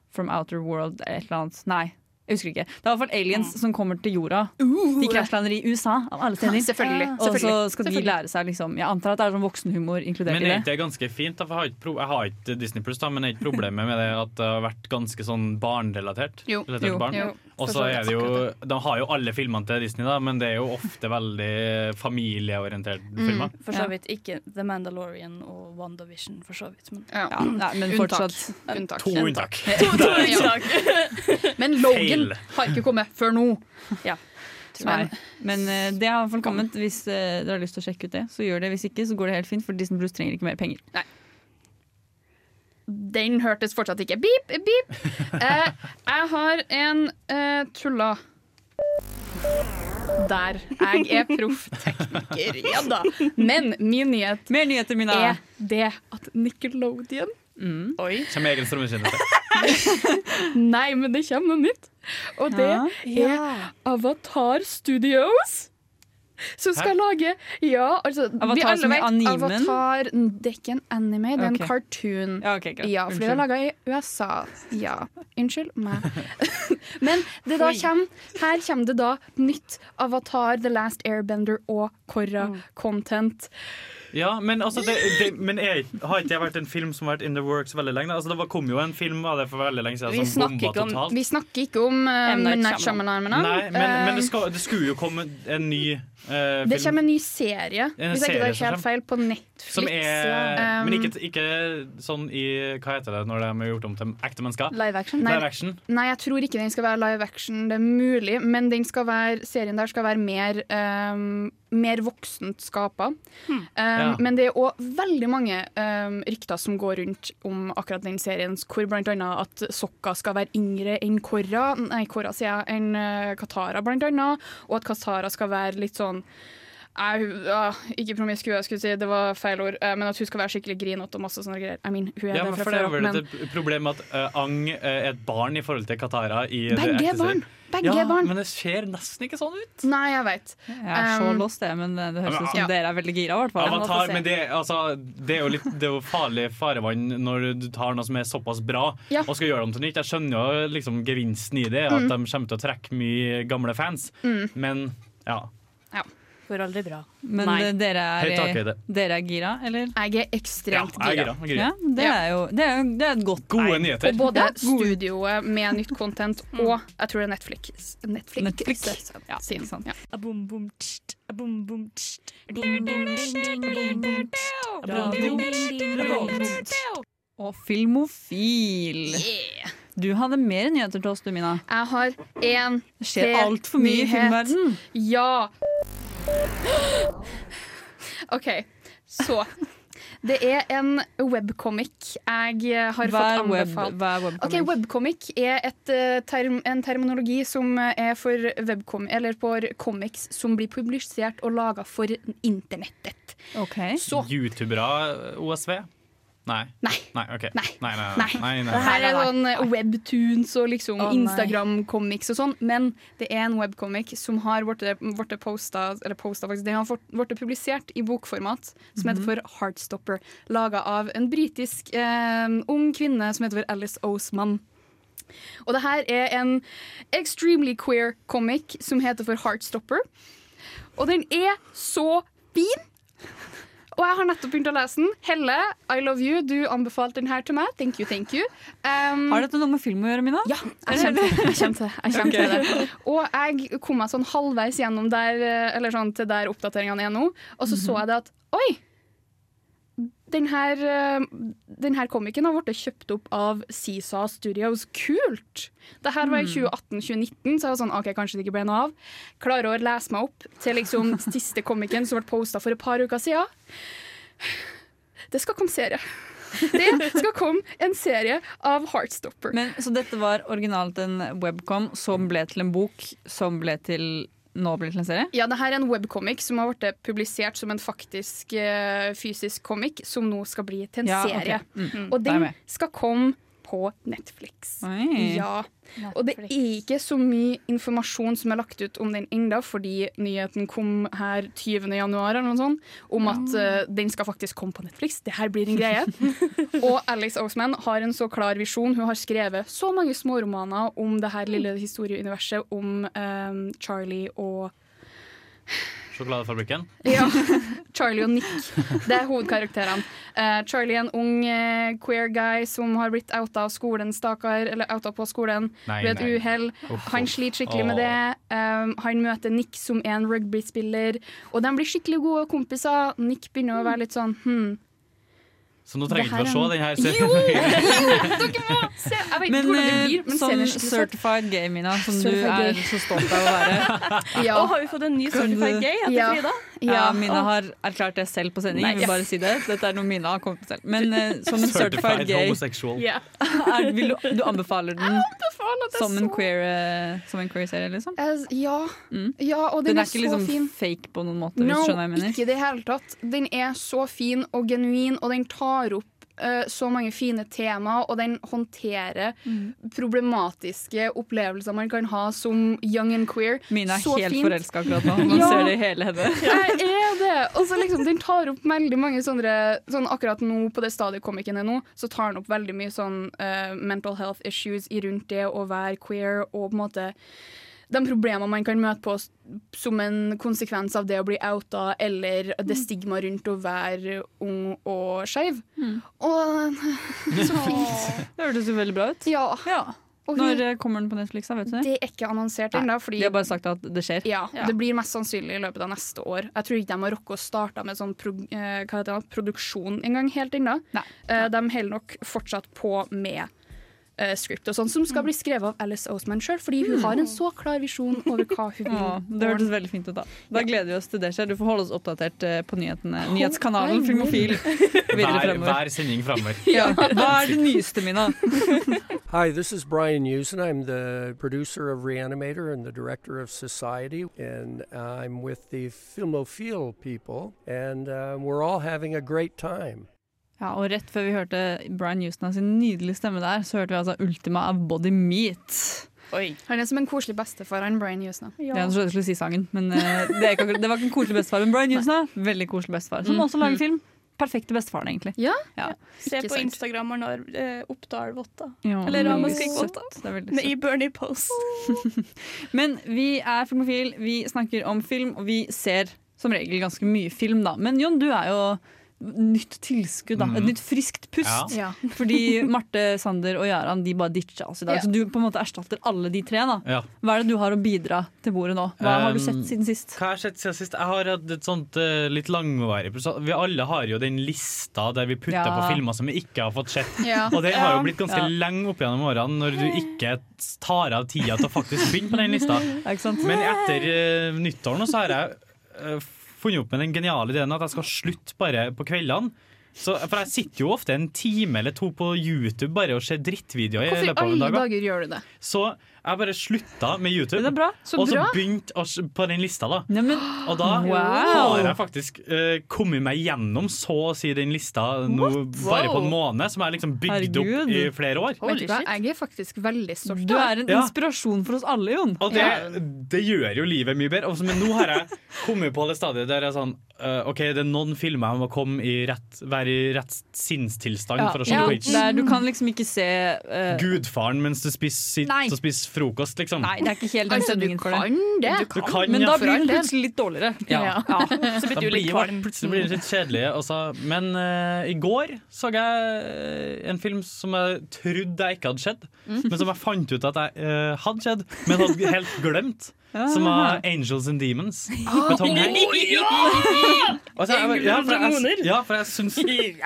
[SPEAKER 4] From Outer World eller et eller annet. Nei, jeg husker ikke. Det er i hvert fall aliens som kommer til jorda. De krasjlander i USA, av alle steder.
[SPEAKER 6] Selvfølgelig,
[SPEAKER 4] Og så
[SPEAKER 6] selvfølgelig,
[SPEAKER 4] skal de
[SPEAKER 6] selvfølgelig.
[SPEAKER 4] lære seg liksom Jeg antar at det er sånn voksenhumor inkludert
[SPEAKER 13] Men
[SPEAKER 4] i
[SPEAKER 13] er
[SPEAKER 4] det.
[SPEAKER 13] ikke det ganske fint? Da, for jeg har ikke, pro jeg har ikke Disney Pluss, da, men er ikke problemet med det at det har vært ganske sånn barnerelatert?
[SPEAKER 4] Jo.
[SPEAKER 13] relatert
[SPEAKER 4] Jo.
[SPEAKER 13] til barn?
[SPEAKER 4] Jo.
[SPEAKER 13] Og så er det jo De har jo alle filmene til Disney, da, men det er jo ofte veldig familieorienterte
[SPEAKER 4] Mm.
[SPEAKER 13] filmer.
[SPEAKER 3] For så vidt ikke The Mandalorian og WandaVision, for så vidt. Men,
[SPEAKER 6] Ja, nei, men
[SPEAKER 3] Unntak.
[SPEAKER 6] fortsatt. Unntak.
[SPEAKER 13] To unntak.
[SPEAKER 3] To, to
[SPEAKER 6] Ja.
[SPEAKER 3] unntak.
[SPEAKER 6] Men Logan
[SPEAKER 4] Feil.
[SPEAKER 6] har ikke kommet før nå.
[SPEAKER 3] Ja.
[SPEAKER 4] Nei. Men eh, det har i hvert fall kommet. Hvis eh, dere har lyst til å sjekke ut det, så gjør det. Hvis ikke, så går det helt fint, for Disney Plus trenger ikke mer penger.
[SPEAKER 6] Den hørtes fortsatt ikke. Beep, beep. Eh, jeg har en eh, tulla. Der. Jeg er proff tekniker, ja da. Men min nyhet
[SPEAKER 4] Mer nyheter, Mina. Mm.
[SPEAKER 6] er det at Nickelodeon
[SPEAKER 13] Som egen strømmetjeneste.
[SPEAKER 6] Nei, men det kommer noe nytt. Og det
[SPEAKER 14] Ja.
[SPEAKER 6] er Avatar Studios. Som skal lage Ja, altså vi
[SPEAKER 4] Avatar
[SPEAKER 6] alle
[SPEAKER 4] som i
[SPEAKER 6] vet,
[SPEAKER 4] animen?
[SPEAKER 6] Avatar Det er ikke en anime, det er
[SPEAKER 4] Ok.
[SPEAKER 6] en cartoon.
[SPEAKER 4] Ja, ok, greit.
[SPEAKER 6] Ja, for det er
[SPEAKER 4] Unnskyld.
[SPEAKER 6] laga i USA. Ja. Unnskyld meg. Men det da kommer, her kommer det da nytt Avatar, The Last Airbender og Korra-content.
[SPEAKER 13] Ja, men, altså, det, det, men jeg, har ikke det vært en film som har vært in the works veldig lenge? Altså, det var, kom jo en film av det for veldig lenge siden
[SPEAKER 6] Vi,
[SPEAKER 13] som
[SPEAKER 6] snakker
[SPEAKER 13] bomba
[SPEAKER 6] ikke om-
[SPEAKER 13] totalt.
[SPEAKER 6] vi snakker ikke om uh,
[SPEAKER 3] M. Night
[SPEAKER 6] Night
[SPEAKER 3] Shyamalan.
[SPEAKER 6] Shyamalan.
[SPEAKER 13] Nei, men, men det,
[SPEAKER 6] Eh,
[SPEAKER 13] skal, det skulle jo komme en ny eh,
[SPEAKER 6] det
[SPEAKER 13] film.
[SPEAKER 6] kommer en ny serie,
[SPEAKER 13] En
[SPEAKER 6] hvis jeg ikke
[SPEAKER 13] serie
[SPEAKER 6] tar
[SPEAKER 13] som
[SPEAKER 6] helt feil, på Netflix.
[SPEAKER 13] Som er,
[SPEAKER 6] Um,
[SPEAKER 13] men ikke, ikke sånn i Hva heter det når de har gjort om til ekte mennesker?
[SPEAKER 6] Um, Live action?
[SPEAKER 13] Live action.
[SPEAKER 6] Nei, jeg tror ikke den skal være live action. Det er mulig, men den skal være, serien der skal være mer, ehm, mer voksent skapa.
[SPEAKER 14] Ja.
[SPEAKER 6] Men det er òg veldig mange ehm, rykter som går rundt om akkurat den serien, hvor bl.a. at Sokka skal være yngre enn Korra, nei, Korra sier jeg, enn eh, Katara, bl.a., og at Katara skal være litt sånn jeg, ja, ikke promiskuøs, jeg skulle si, det var feil ord, eh, men at hun skal være skikkelig grinete og masse sånne greier. I mean, hun er
[SPEAKER 13] Ja,
[SPEAKER 6] det
[SPEAKER 13] men
[SPEAKER 6] fra
[SPEAKER 13] for det
[SPEAKER 6] før
[SPEAKER 13] er
[SPEAKER 6] av,
[SPEAKER 13] vel
[SPEAKER 6] men
[SPEAKER 13] et problem at eh, Ang eh, er et barn i forhold til Katara. I det
[SPEAKER 6] Begge
[SPEAKER 13] ekte
[SPEAKER 6] er barn.
[SPEAKER 13] serien.
[SPEAKER 6] Begge
[SPEAKER 13] ja,
[SPEAKER 6] er barn.
[SPEAKER 13] Men det ser nesten ikke sånn ut.
[SPEAKER 6] Nei, jeg veit.
[SPEAKER 4] Jeg er så
[SPEAKER 6] Um,
[SPEAKER 4] lost, jeg, men eh, det høres
[SPEAKER 13] men-
[SPEAKER 4] ut som
[SPEAKER 13] Ja.
[SPEAKER 4] dere er veldig gira. i hvert fall.
[SPEAKER 13] Avatar, men det, altså, det, er jo litt, det er jo farlig farevann når du tar noe som er såpass bra
[SPEAKER 6] Ja.
[SPEAKER 13] og skal gjøre dem til nytt. Jeg skjønner jo liksom gevinsten i det, at
[SPEAKER 6] Mm.
[SPEAKER 13] de kommer til å trekke mye gamle fans.
[SPEAKER 6] Mm.
[SPEAKER 13] Men ja.
[SPEAKER 6] Ja.
[SPEAKER 3] Går aldri bra.
[SPEAKER 4] Men eh, dere
[SPEAKER 13] Høyt tak i
[SPEAKER 4] er,
[SPEAKER 13] det.
[SPEAKER 4] dere er gira, eller?
[SPEAKER 6] Jeg er ekstremt
[SPEAKER 13] Ja, jeg er gira. gira. Jeg er
[SPEAKER 4] Ja,
[SPEAKER 13] gira.
[SPEAKER 4] det er jo det er, jo- det er et godt
[SPEAKER 13] Gode
[SPEAKER 4] tegn.
[SPEAKER 13] nyheter.
[SPEAKER 6] Og både studioet med nytt content og jeg tror det er Netflix. Netflix.
[SPEAKER 4] Mm. Netflix.
[SPEAKER 6] Ja, sin. Ja.
[SPEAKER 14] Abum, bum, tst, abum, bum, tst. Dum, dum, tst, abum, bum, tst. Abum, bum, tst, abum, bum, tst.
[SPEAKER 4] Og filmofil. Du hadde mer nyheter til oss, du, Mina.
[SPEAKER 6] Jeg har én
[SPEAKER 4] Det skjer altfor mye i filmverdenen.
[SPEAKER 6] Ja. OK, så. Det er en webcomic jeg eh, har
[SPEAKER 4] Hva er
[SPEAKER 6] fått
[SPEAKER 4] web-
[SPEAKER 6] anbefalt.
[SPEAKER 4] hva er
[SPEAKER 6] Ok,
[SPEAKER 4] webcomic?
[SPEAKER 6] webcomic er et, eh, term, en terminologi som eh, er for, webcom, eller for comics som blir publisert og laga for internettet. Så
[SPEAKER 13] Youtubere, OSV? Nei.
[SPEAKER 6] Nei.
[SPEAKER 13] Nei, ok.
[SPEAKER 6] Nei.
[SPEAKER 13] Nei, nei, nei.
[SPEAKER 6] Nei.
[SPEAKER 13] nei, nei.
[SPEAKER 6] Det her er sånn eh, webtoons og liksom
[SPEAKER 4] Å, nei.
[SPEAKER 6] Instagram-comics og sånn, men det er en webcomic som har blitt posta, eller posta faktisk, det har blitt publisert i bokformat, som heter
[SPEAKER 4] Mhm.
[SPEAKER 6] for Heartstopper, laga av en britisk eh, ung kvinne som heter for Alice Osman. Og det her er en extremely queer comic som heter for Heartstopper. Og den er så fin! Og jeg har nettopp begynt å lese den. Helle, I love you. Du anbefalte den her til meg. Thank you, thank you. Um,
[SPEAKER 4] Har dette noe med film å gjøre, Mina?
[SPEAKER 6] Ja, jeg kjente det. Jeg kjente det. Jeg kjente det. Og jeg kom meg sånn halvveis gjennom der, eh, eller sånn til der oppdateringene er nå, og så så jeg det at oi! Den her, eh, den her komikken har blitt kjøpt opp av Seesaw Studios. Kult! Det her var i
[SPEAKER 4] Mm.
[SPEAKER 6] 2018-2019, så jeg var sånn OK, kanskje det ikke ble noe av. Klarer å lese meg opp til liksom siste komikken som ble posta for et par uker siden. Det skal komme serie. Det skal komme en serie av Heartstopper.
[SPEAKER 4] Men, så dette var originalt en webcom som ble til en bok, som ble til nå blir til en serie?
[SPEAKER 6] Ja, det her er en webcomic som har blitt publisert som en faktisk eh, fysisk comic, som nå skal bli til en
[SPEAKER 4] Ja, ok.
[SPEAKER 6] serie.
[SPEAKER 4] Mm. Mm,
[SPEAKER 6] Og
[SPEAKER 4] da er jeg
[SPEAKER 6] den
[SPEAKER 4] med.
[SPEAKER 6] skal komme på Netflix.
[SPEAKER 4] Oi.
[SPEAKER 6] Ja. Og det er ikke så mye informasjon som er lagt ut om den enda, fordi nyheten kom her 20. januar eller noe sånt, om at eh, den skal faktisk komme på Netflix. Det her blir en greie. Og Alex Oseman har en så klar visjon. Hun har skrevet så mange småromaner om det her lille historieuniverset om eh, Charlie og
[SPEAKER 13] Sjokoladefabrikken?
[SPEAKER 6] ja. Charlie og Nick. Det er hovedkarakterene. Eh, Charlie er en ung eh, queer guy som har blitt outa av skolen, stakkar. Eller outa på skolen
[SPEAKER 14] Nei,
[SPEAKER 6] ved et
[SPEAKER 14] nei.
[SPEAKER 6] uhell.
[SPEAKER 14] Uff,
[SPEAKER 6] Han
[SPEAKER 14] uff.
[SPEAKER 6] sliter skikkelig med
[SPEAKER 14] Åh.
[SPEAKER 6] det. Um, han møter Nick, som er en rugbyspiller, og de blir skikkelig gode kompiser. Nick begynner å være litt sånn hm,
[SPEAKER 13] Så nå
[SPEAKER 6] Det
[SPEAKER 13] trenger
[SPEAKER 6] her
[SPEAKER 13] vi ikke å se
[SPEAKER 6] er
[SPEAKER 13] den her
[SPEAKER 6] Jo!
[SPEAKER 13] serien.
[SPEAKER 6] se, Jeg vet ikke
[SPEAKER 4] Men,
[SPEAKER 6] hvordan det blir,
[SPEAKER 4] eh,
[SPEAKER 6] men
[SPEAKER 4] som
[SPEAKER 6] serien er skikkelig søt.
[SPEAKER 4] certified gay, Mina, som du
[SPEAKER 6] Certified
[SPEAKER 4] er
[SPEAKER 6] gay.
[SPEAKER 4] så stolt av å være.
[SPEAKER 6] Ja.
[SPEAKER 3] Og har vi fått en ny
[SPEAKER 4] Kan du-
[SPEAKER 3] certified gay etter
[SPEAKER 4] Ja.
[SPEAKER 3] Frida?
[SPEAKER 4] Ja, Mina har erklært det selv på sending.
[SPEAKER 3] Nei,
[SPEAKER 4] Jeg vil bare
[SPEAKER 3] yes.
[SPEAKER 4] si det. Dette er noe Mina har kommet til selv. Men eh, som en
[SPEAKER 13] Certified
[SPEAKER 4] certified gay
[SPEAKER 13] homosexual.
[SPEAKER 6] Ja.
[SPEAKER 4] er, vil du, du anbefaler den
[SPEAKER 6] anbefaler at jeg
[SPEAKER 4] som en
[SPEAKER 6] så-
[SPEAKER 4] queer, eh, som en queer serie, liksom?
[SPEAKER 6] Eh, Ja.
[SPEAKER 4] Mm.
[SPEAKER 6] ja, og den,
[SPEAKER 4] den
[SPEAKER 6] er, så
[SPEAKER 4] ikke liksom
[SPEAKER 6] fin.
[SPEAKER 4] fake på noen måte, hvis
[SPEAKER 6] No,
[SPEAKER 4] du skjønner hva jeg mener?
[SPEAKER 6] ikke i det hele tatt. Den er så fin og genuin, og den tar opp eh, så mange fine temaer, og den håndterer
[SPEAKER 4] Mm.
[SPEAKER 6] problematiske opplevelser man kan ha som young and queer.
[SPEAKER 4] Mina er
[SPEAKER 6] Så
[SPEAKER 4] helt
[SPEAKER 6] fint.
[SPEAKER 4] forelska akkurat nå. Man
[SPEAKER 6] Ja.
[SPEAKER 4] ser det i hele henne.
[SPEAKER 6] Jeg er det! Og så liksom, den tar opp veldig mange sånne sånn Akkurat nå, på det stadiet komikken er nå, så tar den opp veldig mye sånn eh, mental health issues i rundt det å være queer og på en måte de problemene man kan møte på s- som en konsekvens av det å bli outa, eller
[SPEAKER 4] Mm.
[SPEAKER 6] det stigma rundt å være ung og skeiv.
[SPEAKER 4] Mm.
[SPEAKER 6] Og så fint.
[SPEAKER 4] Det hørtes jo veldig bra ut.
[SPEAKER 6] Ja. Og hun-
[SPEAKER 4] Når eh, kommer den på Netflix, da? Vet du
[SPEAKER 6] det er ikke annonsert ennå, fordi
[SPEAKER 4] De har bare sagt at det skjer.
[SPEAKER 6] ja, det blir mest sannsynlig i løpet av neste år. Jeg tror ikke de har rukket å starte med sånn prog eh, hva heter det, produksjon engang helt ennå. Eh, de holder nok fortsatt på med eh, script og sånn, som skal bli skrevet av Alice Oseman sjøl, fordi hun
[SPEAKER 4] Mm.
[SPEAKER 6] har en så klar visjon over hva hun vil.
[SPEAKER 4] Ja, det hørtes veldig fint ut. Da Da gleder vi oss til det skjer. Du får holde oss oppdatert eh, på nyhetene.
[SPEAKER 6] I
[SPEAKER 4] Nyhetskanalen Filmofil videre
[SPEAKER 13] Hver,
[SPEAKER 4] fremover.
[SPEAKER 13] hver sending framover.
[SPEAKER 4] Ja. Hva er det nyeste, Mina?
[SPEAKER 17] Hi, this is Brian Usen. I'm the producer of Reanimator and the director of Society, and I'm with the Filmophile people, and uh, we're all having a great time.
[SPEAKER 4] Ja, og rett før vi hørte Brian Houston av sin nydelige stemme der, så hørte vi altså Ultima av Body Meat.
[SPEAKER 6] Han er som en koselig bestefar, han Brian Jusna.
[SPEAKER 4] Det er en jeg skulle si sangen, men eh, det, er ikke akkurat, det var ikke en koselig bestefar. Men Brian Houston er veldig koselig bestefar, som
[SPEAKER 3] Mm.
[SPEAKER 4] også lager
[SPEAKER 3] Mm.
[SPEAKER 4] film. Perfekte bestefaren, egentlig.
[SPEAKER 6] Ja.
[SPEAKER 3] Se
[SPEAKER 4] Ikke
[SPEAKER 3] på
[SPEAKER 4] sant.
[SPEAKER 3] Instagram når eh, Oppdal-votta.
[SPEAKER 4] Ja,
[SPEAKER 3] Eller
[SPEAKER 4] veldig
[SPEAKER 3] Ramaskrik-votta.
[SPEAKER 4] søtt. Det er veldig
[SPEAKER 3] Med- I Bernie Pose.
[SPEAKER 4] Men vi er filmofil, vi snakker om film, og vi ser som regel ganske mye film, da. Men Jon, du er jo nytt tilskudd, da. Et
[SPEAKER 3] Mhm.
[SPEAKER 4] nytt friskt pust.
[SPEAKER 3] Ja. Ja.
[SPEAKER 4] Fordi Marte, Sander og Jaran de bare ditcha oss i dag.
[SPEAKER 3] Ja.
[SPEAKER 4] Så du på en måte erstatter alle de tre. da.
[SPEAKER 13] Ja.
[SPEAKER 4] Hva er det du har å bidra til bordet nå? Hva har du sett
[SPEAKER 13] Um,
[SPEAKER 4] siden sist?
[SPEAKER 13] Hva har jeg sett siden sist? Jeg har hatt et sånt eh, litt langvarig prosess- Vi alle har jo den lista der vi putter
[SPEAKER 4] Ja.
[SPEAKER 13] på filmer som vi ikke har fått sett.
[SPEAKER 4] Ja.
[SPEAKER 13] Og det
[SPEAKER 4] Ja.
[SPEAKER 13] har jo blitt ganske
[SPEAKER 4] Ja.
[SPEAKER 13] lenge opp gjennom årene når du ikke tar av tida til å faktisk begynne på den lista. Men etter eh, nyttår nå så har jeg eh, funnet opp med den geniale ideen at jeg skal slutte bare på kveldene. Så, for jeg sitter jo ofte en time eller to på YouTube bare og ser drittvideoer. i
[SPEAKER 6] Hvorfor i
[SPEAKER 13] løpet av en
[SPEAKER 6] alle
[SPEAKER 13] dag, da.
[SPEAKER 6] dager gjør du det?
[SPEAKER 13] Så jeg bare slutta med YouTube,
[SPEAKER 6] Så
[SPEAKER 13] og så
[SPEAKER 6] bra.
[SPEAKER 13] begynte å s- på den lista. da Og da
[SPEAKER 4] Wow.
[SPEAKER 13] har jeg faktisk eh, kommet meg gjennom så å si den lista nå, bare på en måned, som jeg liksom bygde opp i
[SPEAKER 4] Herregud.
[SPEAKER 13] flere år.
[SPEAKER 6] Vet du hva, jeg er faktisk veldig stolt.
[SPEAKER 4] Du er en
[SPEAKER 13] Ja.
[SPEAKER 4] inspirasjon for oss alle, Jon.
[SPEAKER 13] Og det, det gjør jo livet mye bedre. Og så- Men nå har jeg kommet på det stadiet der jeg er sånn eh, OK, det er noen filmer jeg må komme i rett, være i rett sinnstilstand for å se på. ikke-
[SPEAKER 4] Der, du kan liksom ikke se eh,
[SPEAKER 13] Gudfaren mens du spiser,
[SPEAKER 4] Nei.
[SPEAKER 13] sitter og spiser frokost, liksom.
[SPEAKER 4] Nei, det er ikke helt den
[SPEAKER 13] Altså, du
[SPEAKER 4] stemningen for det.
[SPEAKER 6] Kan det?
[SPEAKER 13] Du kan,
[SPEAKER 4] men
[SPEAKER 13] ja,
[SPEAKER 4] da
[SPEAKER 13] for
[SPEAKER 4] blir den
[SPEAKER 13] all del.
[SPEAKER 4] plutselig litt dårligere.
[SPEAKER 13] Ja.
[SPEAKER 4] Så blir
[SPEAKER 13] Da
[SPEAKER 4] du jo litt
[SPEAKER 13] blir det-
[SPEAKER 4] kvalm.
[SPEAKER 13] Plutselig blir det litt kjedelig. og så- Men eh, i går så jeg en film som jeg trodde jeg ikke hadde sett,
[SPEAKER 12] Mm.
[SPEAKER 13] men som jeg fant ut at jeg eh, hadde sett, men hadde helt glemt. Som
[SPEAKER 4] Ah.
[SPEAKER 13] var 'Angels and Demons' med Tom Hanks. Og så jeg- Ja, for jeg, ja, for jeg syns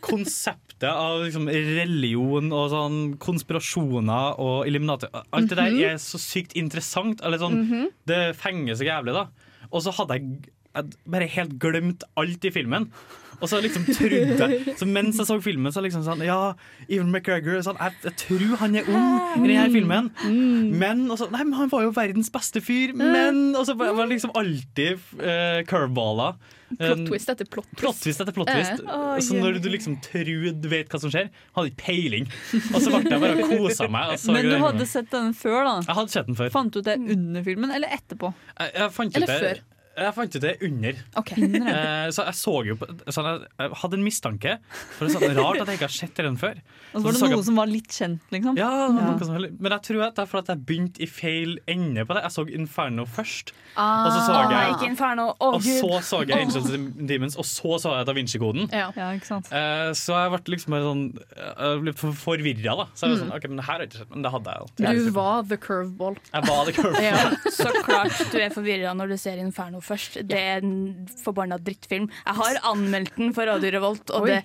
[SPEAKER 13] konseptet av liksom religion og sånn konspirasjoner og Illuminati Alt det der
[SPEAKER 4] Mhm.
[SPEAKER 13] er så sykt interessant. Eller sånn,
[SPEAKER 12] Mhm.
[SPEAKER 13] Det fenger så jævlig, da. Og så hadde jeg, jeg bare helt glemt alt i filmen. Og så liksom trodde jeg Så mens jeg så filmen, så liksom sånn Ja, Even McGregor sånn, jeg, jeg tror han er ung i denne filmen. Men og så, Nei, men han var jo verdens beste fyr. Men Og så var var det liksom alltid uh, curveballer. Eh,
[SPEAKER 6] Plot twist etter plot twist.
[SPEAKER 13] Plot twist etter plot twist.
[SPEAKER 6] Eh. Å,
[SPEAKER 13] så når du liksom tror du vet hva som skjer, hadde ikke peiling. Og så ble jeg bare kosa meg. Og så
[SPEAKER 4] Men du hadde sett den før, da?
[SPEAKER 13] Jeg hadde sett den før.
[SPEAKER 4] Fant du ut det
[SPEAKER 3] Mm.
[SPEAKER 4] under filmen eller etterpå?
[SPEAKER 13] Jeg, jeg fant ut
[SPEAKER 4] Eller
[SPEAKER 13] det-
[SPEAKER 4] før?
[SPEAKER 13] Jeg fant ut det under.
[SPEAKER 4] Under, ja.
[SPEAKER 13] Eh, så jeg så jo på sånn, jeg, jeg hadde en mistanke. For det er sånn rart at jeg ikke har sett den før.
[SPEAKER 4] Og så Altså, var
[SPEAKER 13] så
[SPEAKER 4] det
[SPEAKER 13] så
[SPEAKER 4] noe
[SPEAKER 13] jeg-
[SPEAKER 4] som var litt kjent, liksom?
[SPEAKER 13] Ja, det var noe som var litt- Men jeg tror at det er fordi at jeg begynte i feil ende på det. Jeg så Inferno først.
[SPEAKER 3] Ah.
[SPEAKER 13] og så så
[SPEAKER 3] Å
[SPEAKER 6] oh
[SPEAKER 3] nei,
[SPEAKER 13] jeg
[SPEAKER 3] ikke Inferno. Å,
[SPEAKER 13] Og så
[SPEAKER 3] Gud.
[SPEAKER 13] så jeg Angels and Demons, og så så jeg Da Vinci-koden.
[SPEAKER 4] Ja, ikke sant?
[SPEAKER 13] Eh, så jeg ble liksom bare sånn Jeg ble forvirra, da. Så jeg var
[SPEAKER 6] Mm.
[SPEAKER 13] sånn, ok, men det her har jeg ikke sett, men det hadde jeg. jo.
[SPEAKER 6] Du var the curveball.
[SPEAKER 13] Jeg var det curve.
[SPEAKER 3] Så klart du er forvirra når du ser 'Inferno' først. Det er en forbanna drittfilm. Jeg har anmeldt den for Radio Revolt, og
[SPEAKER 4] Oi.
[SPEAKER 3] det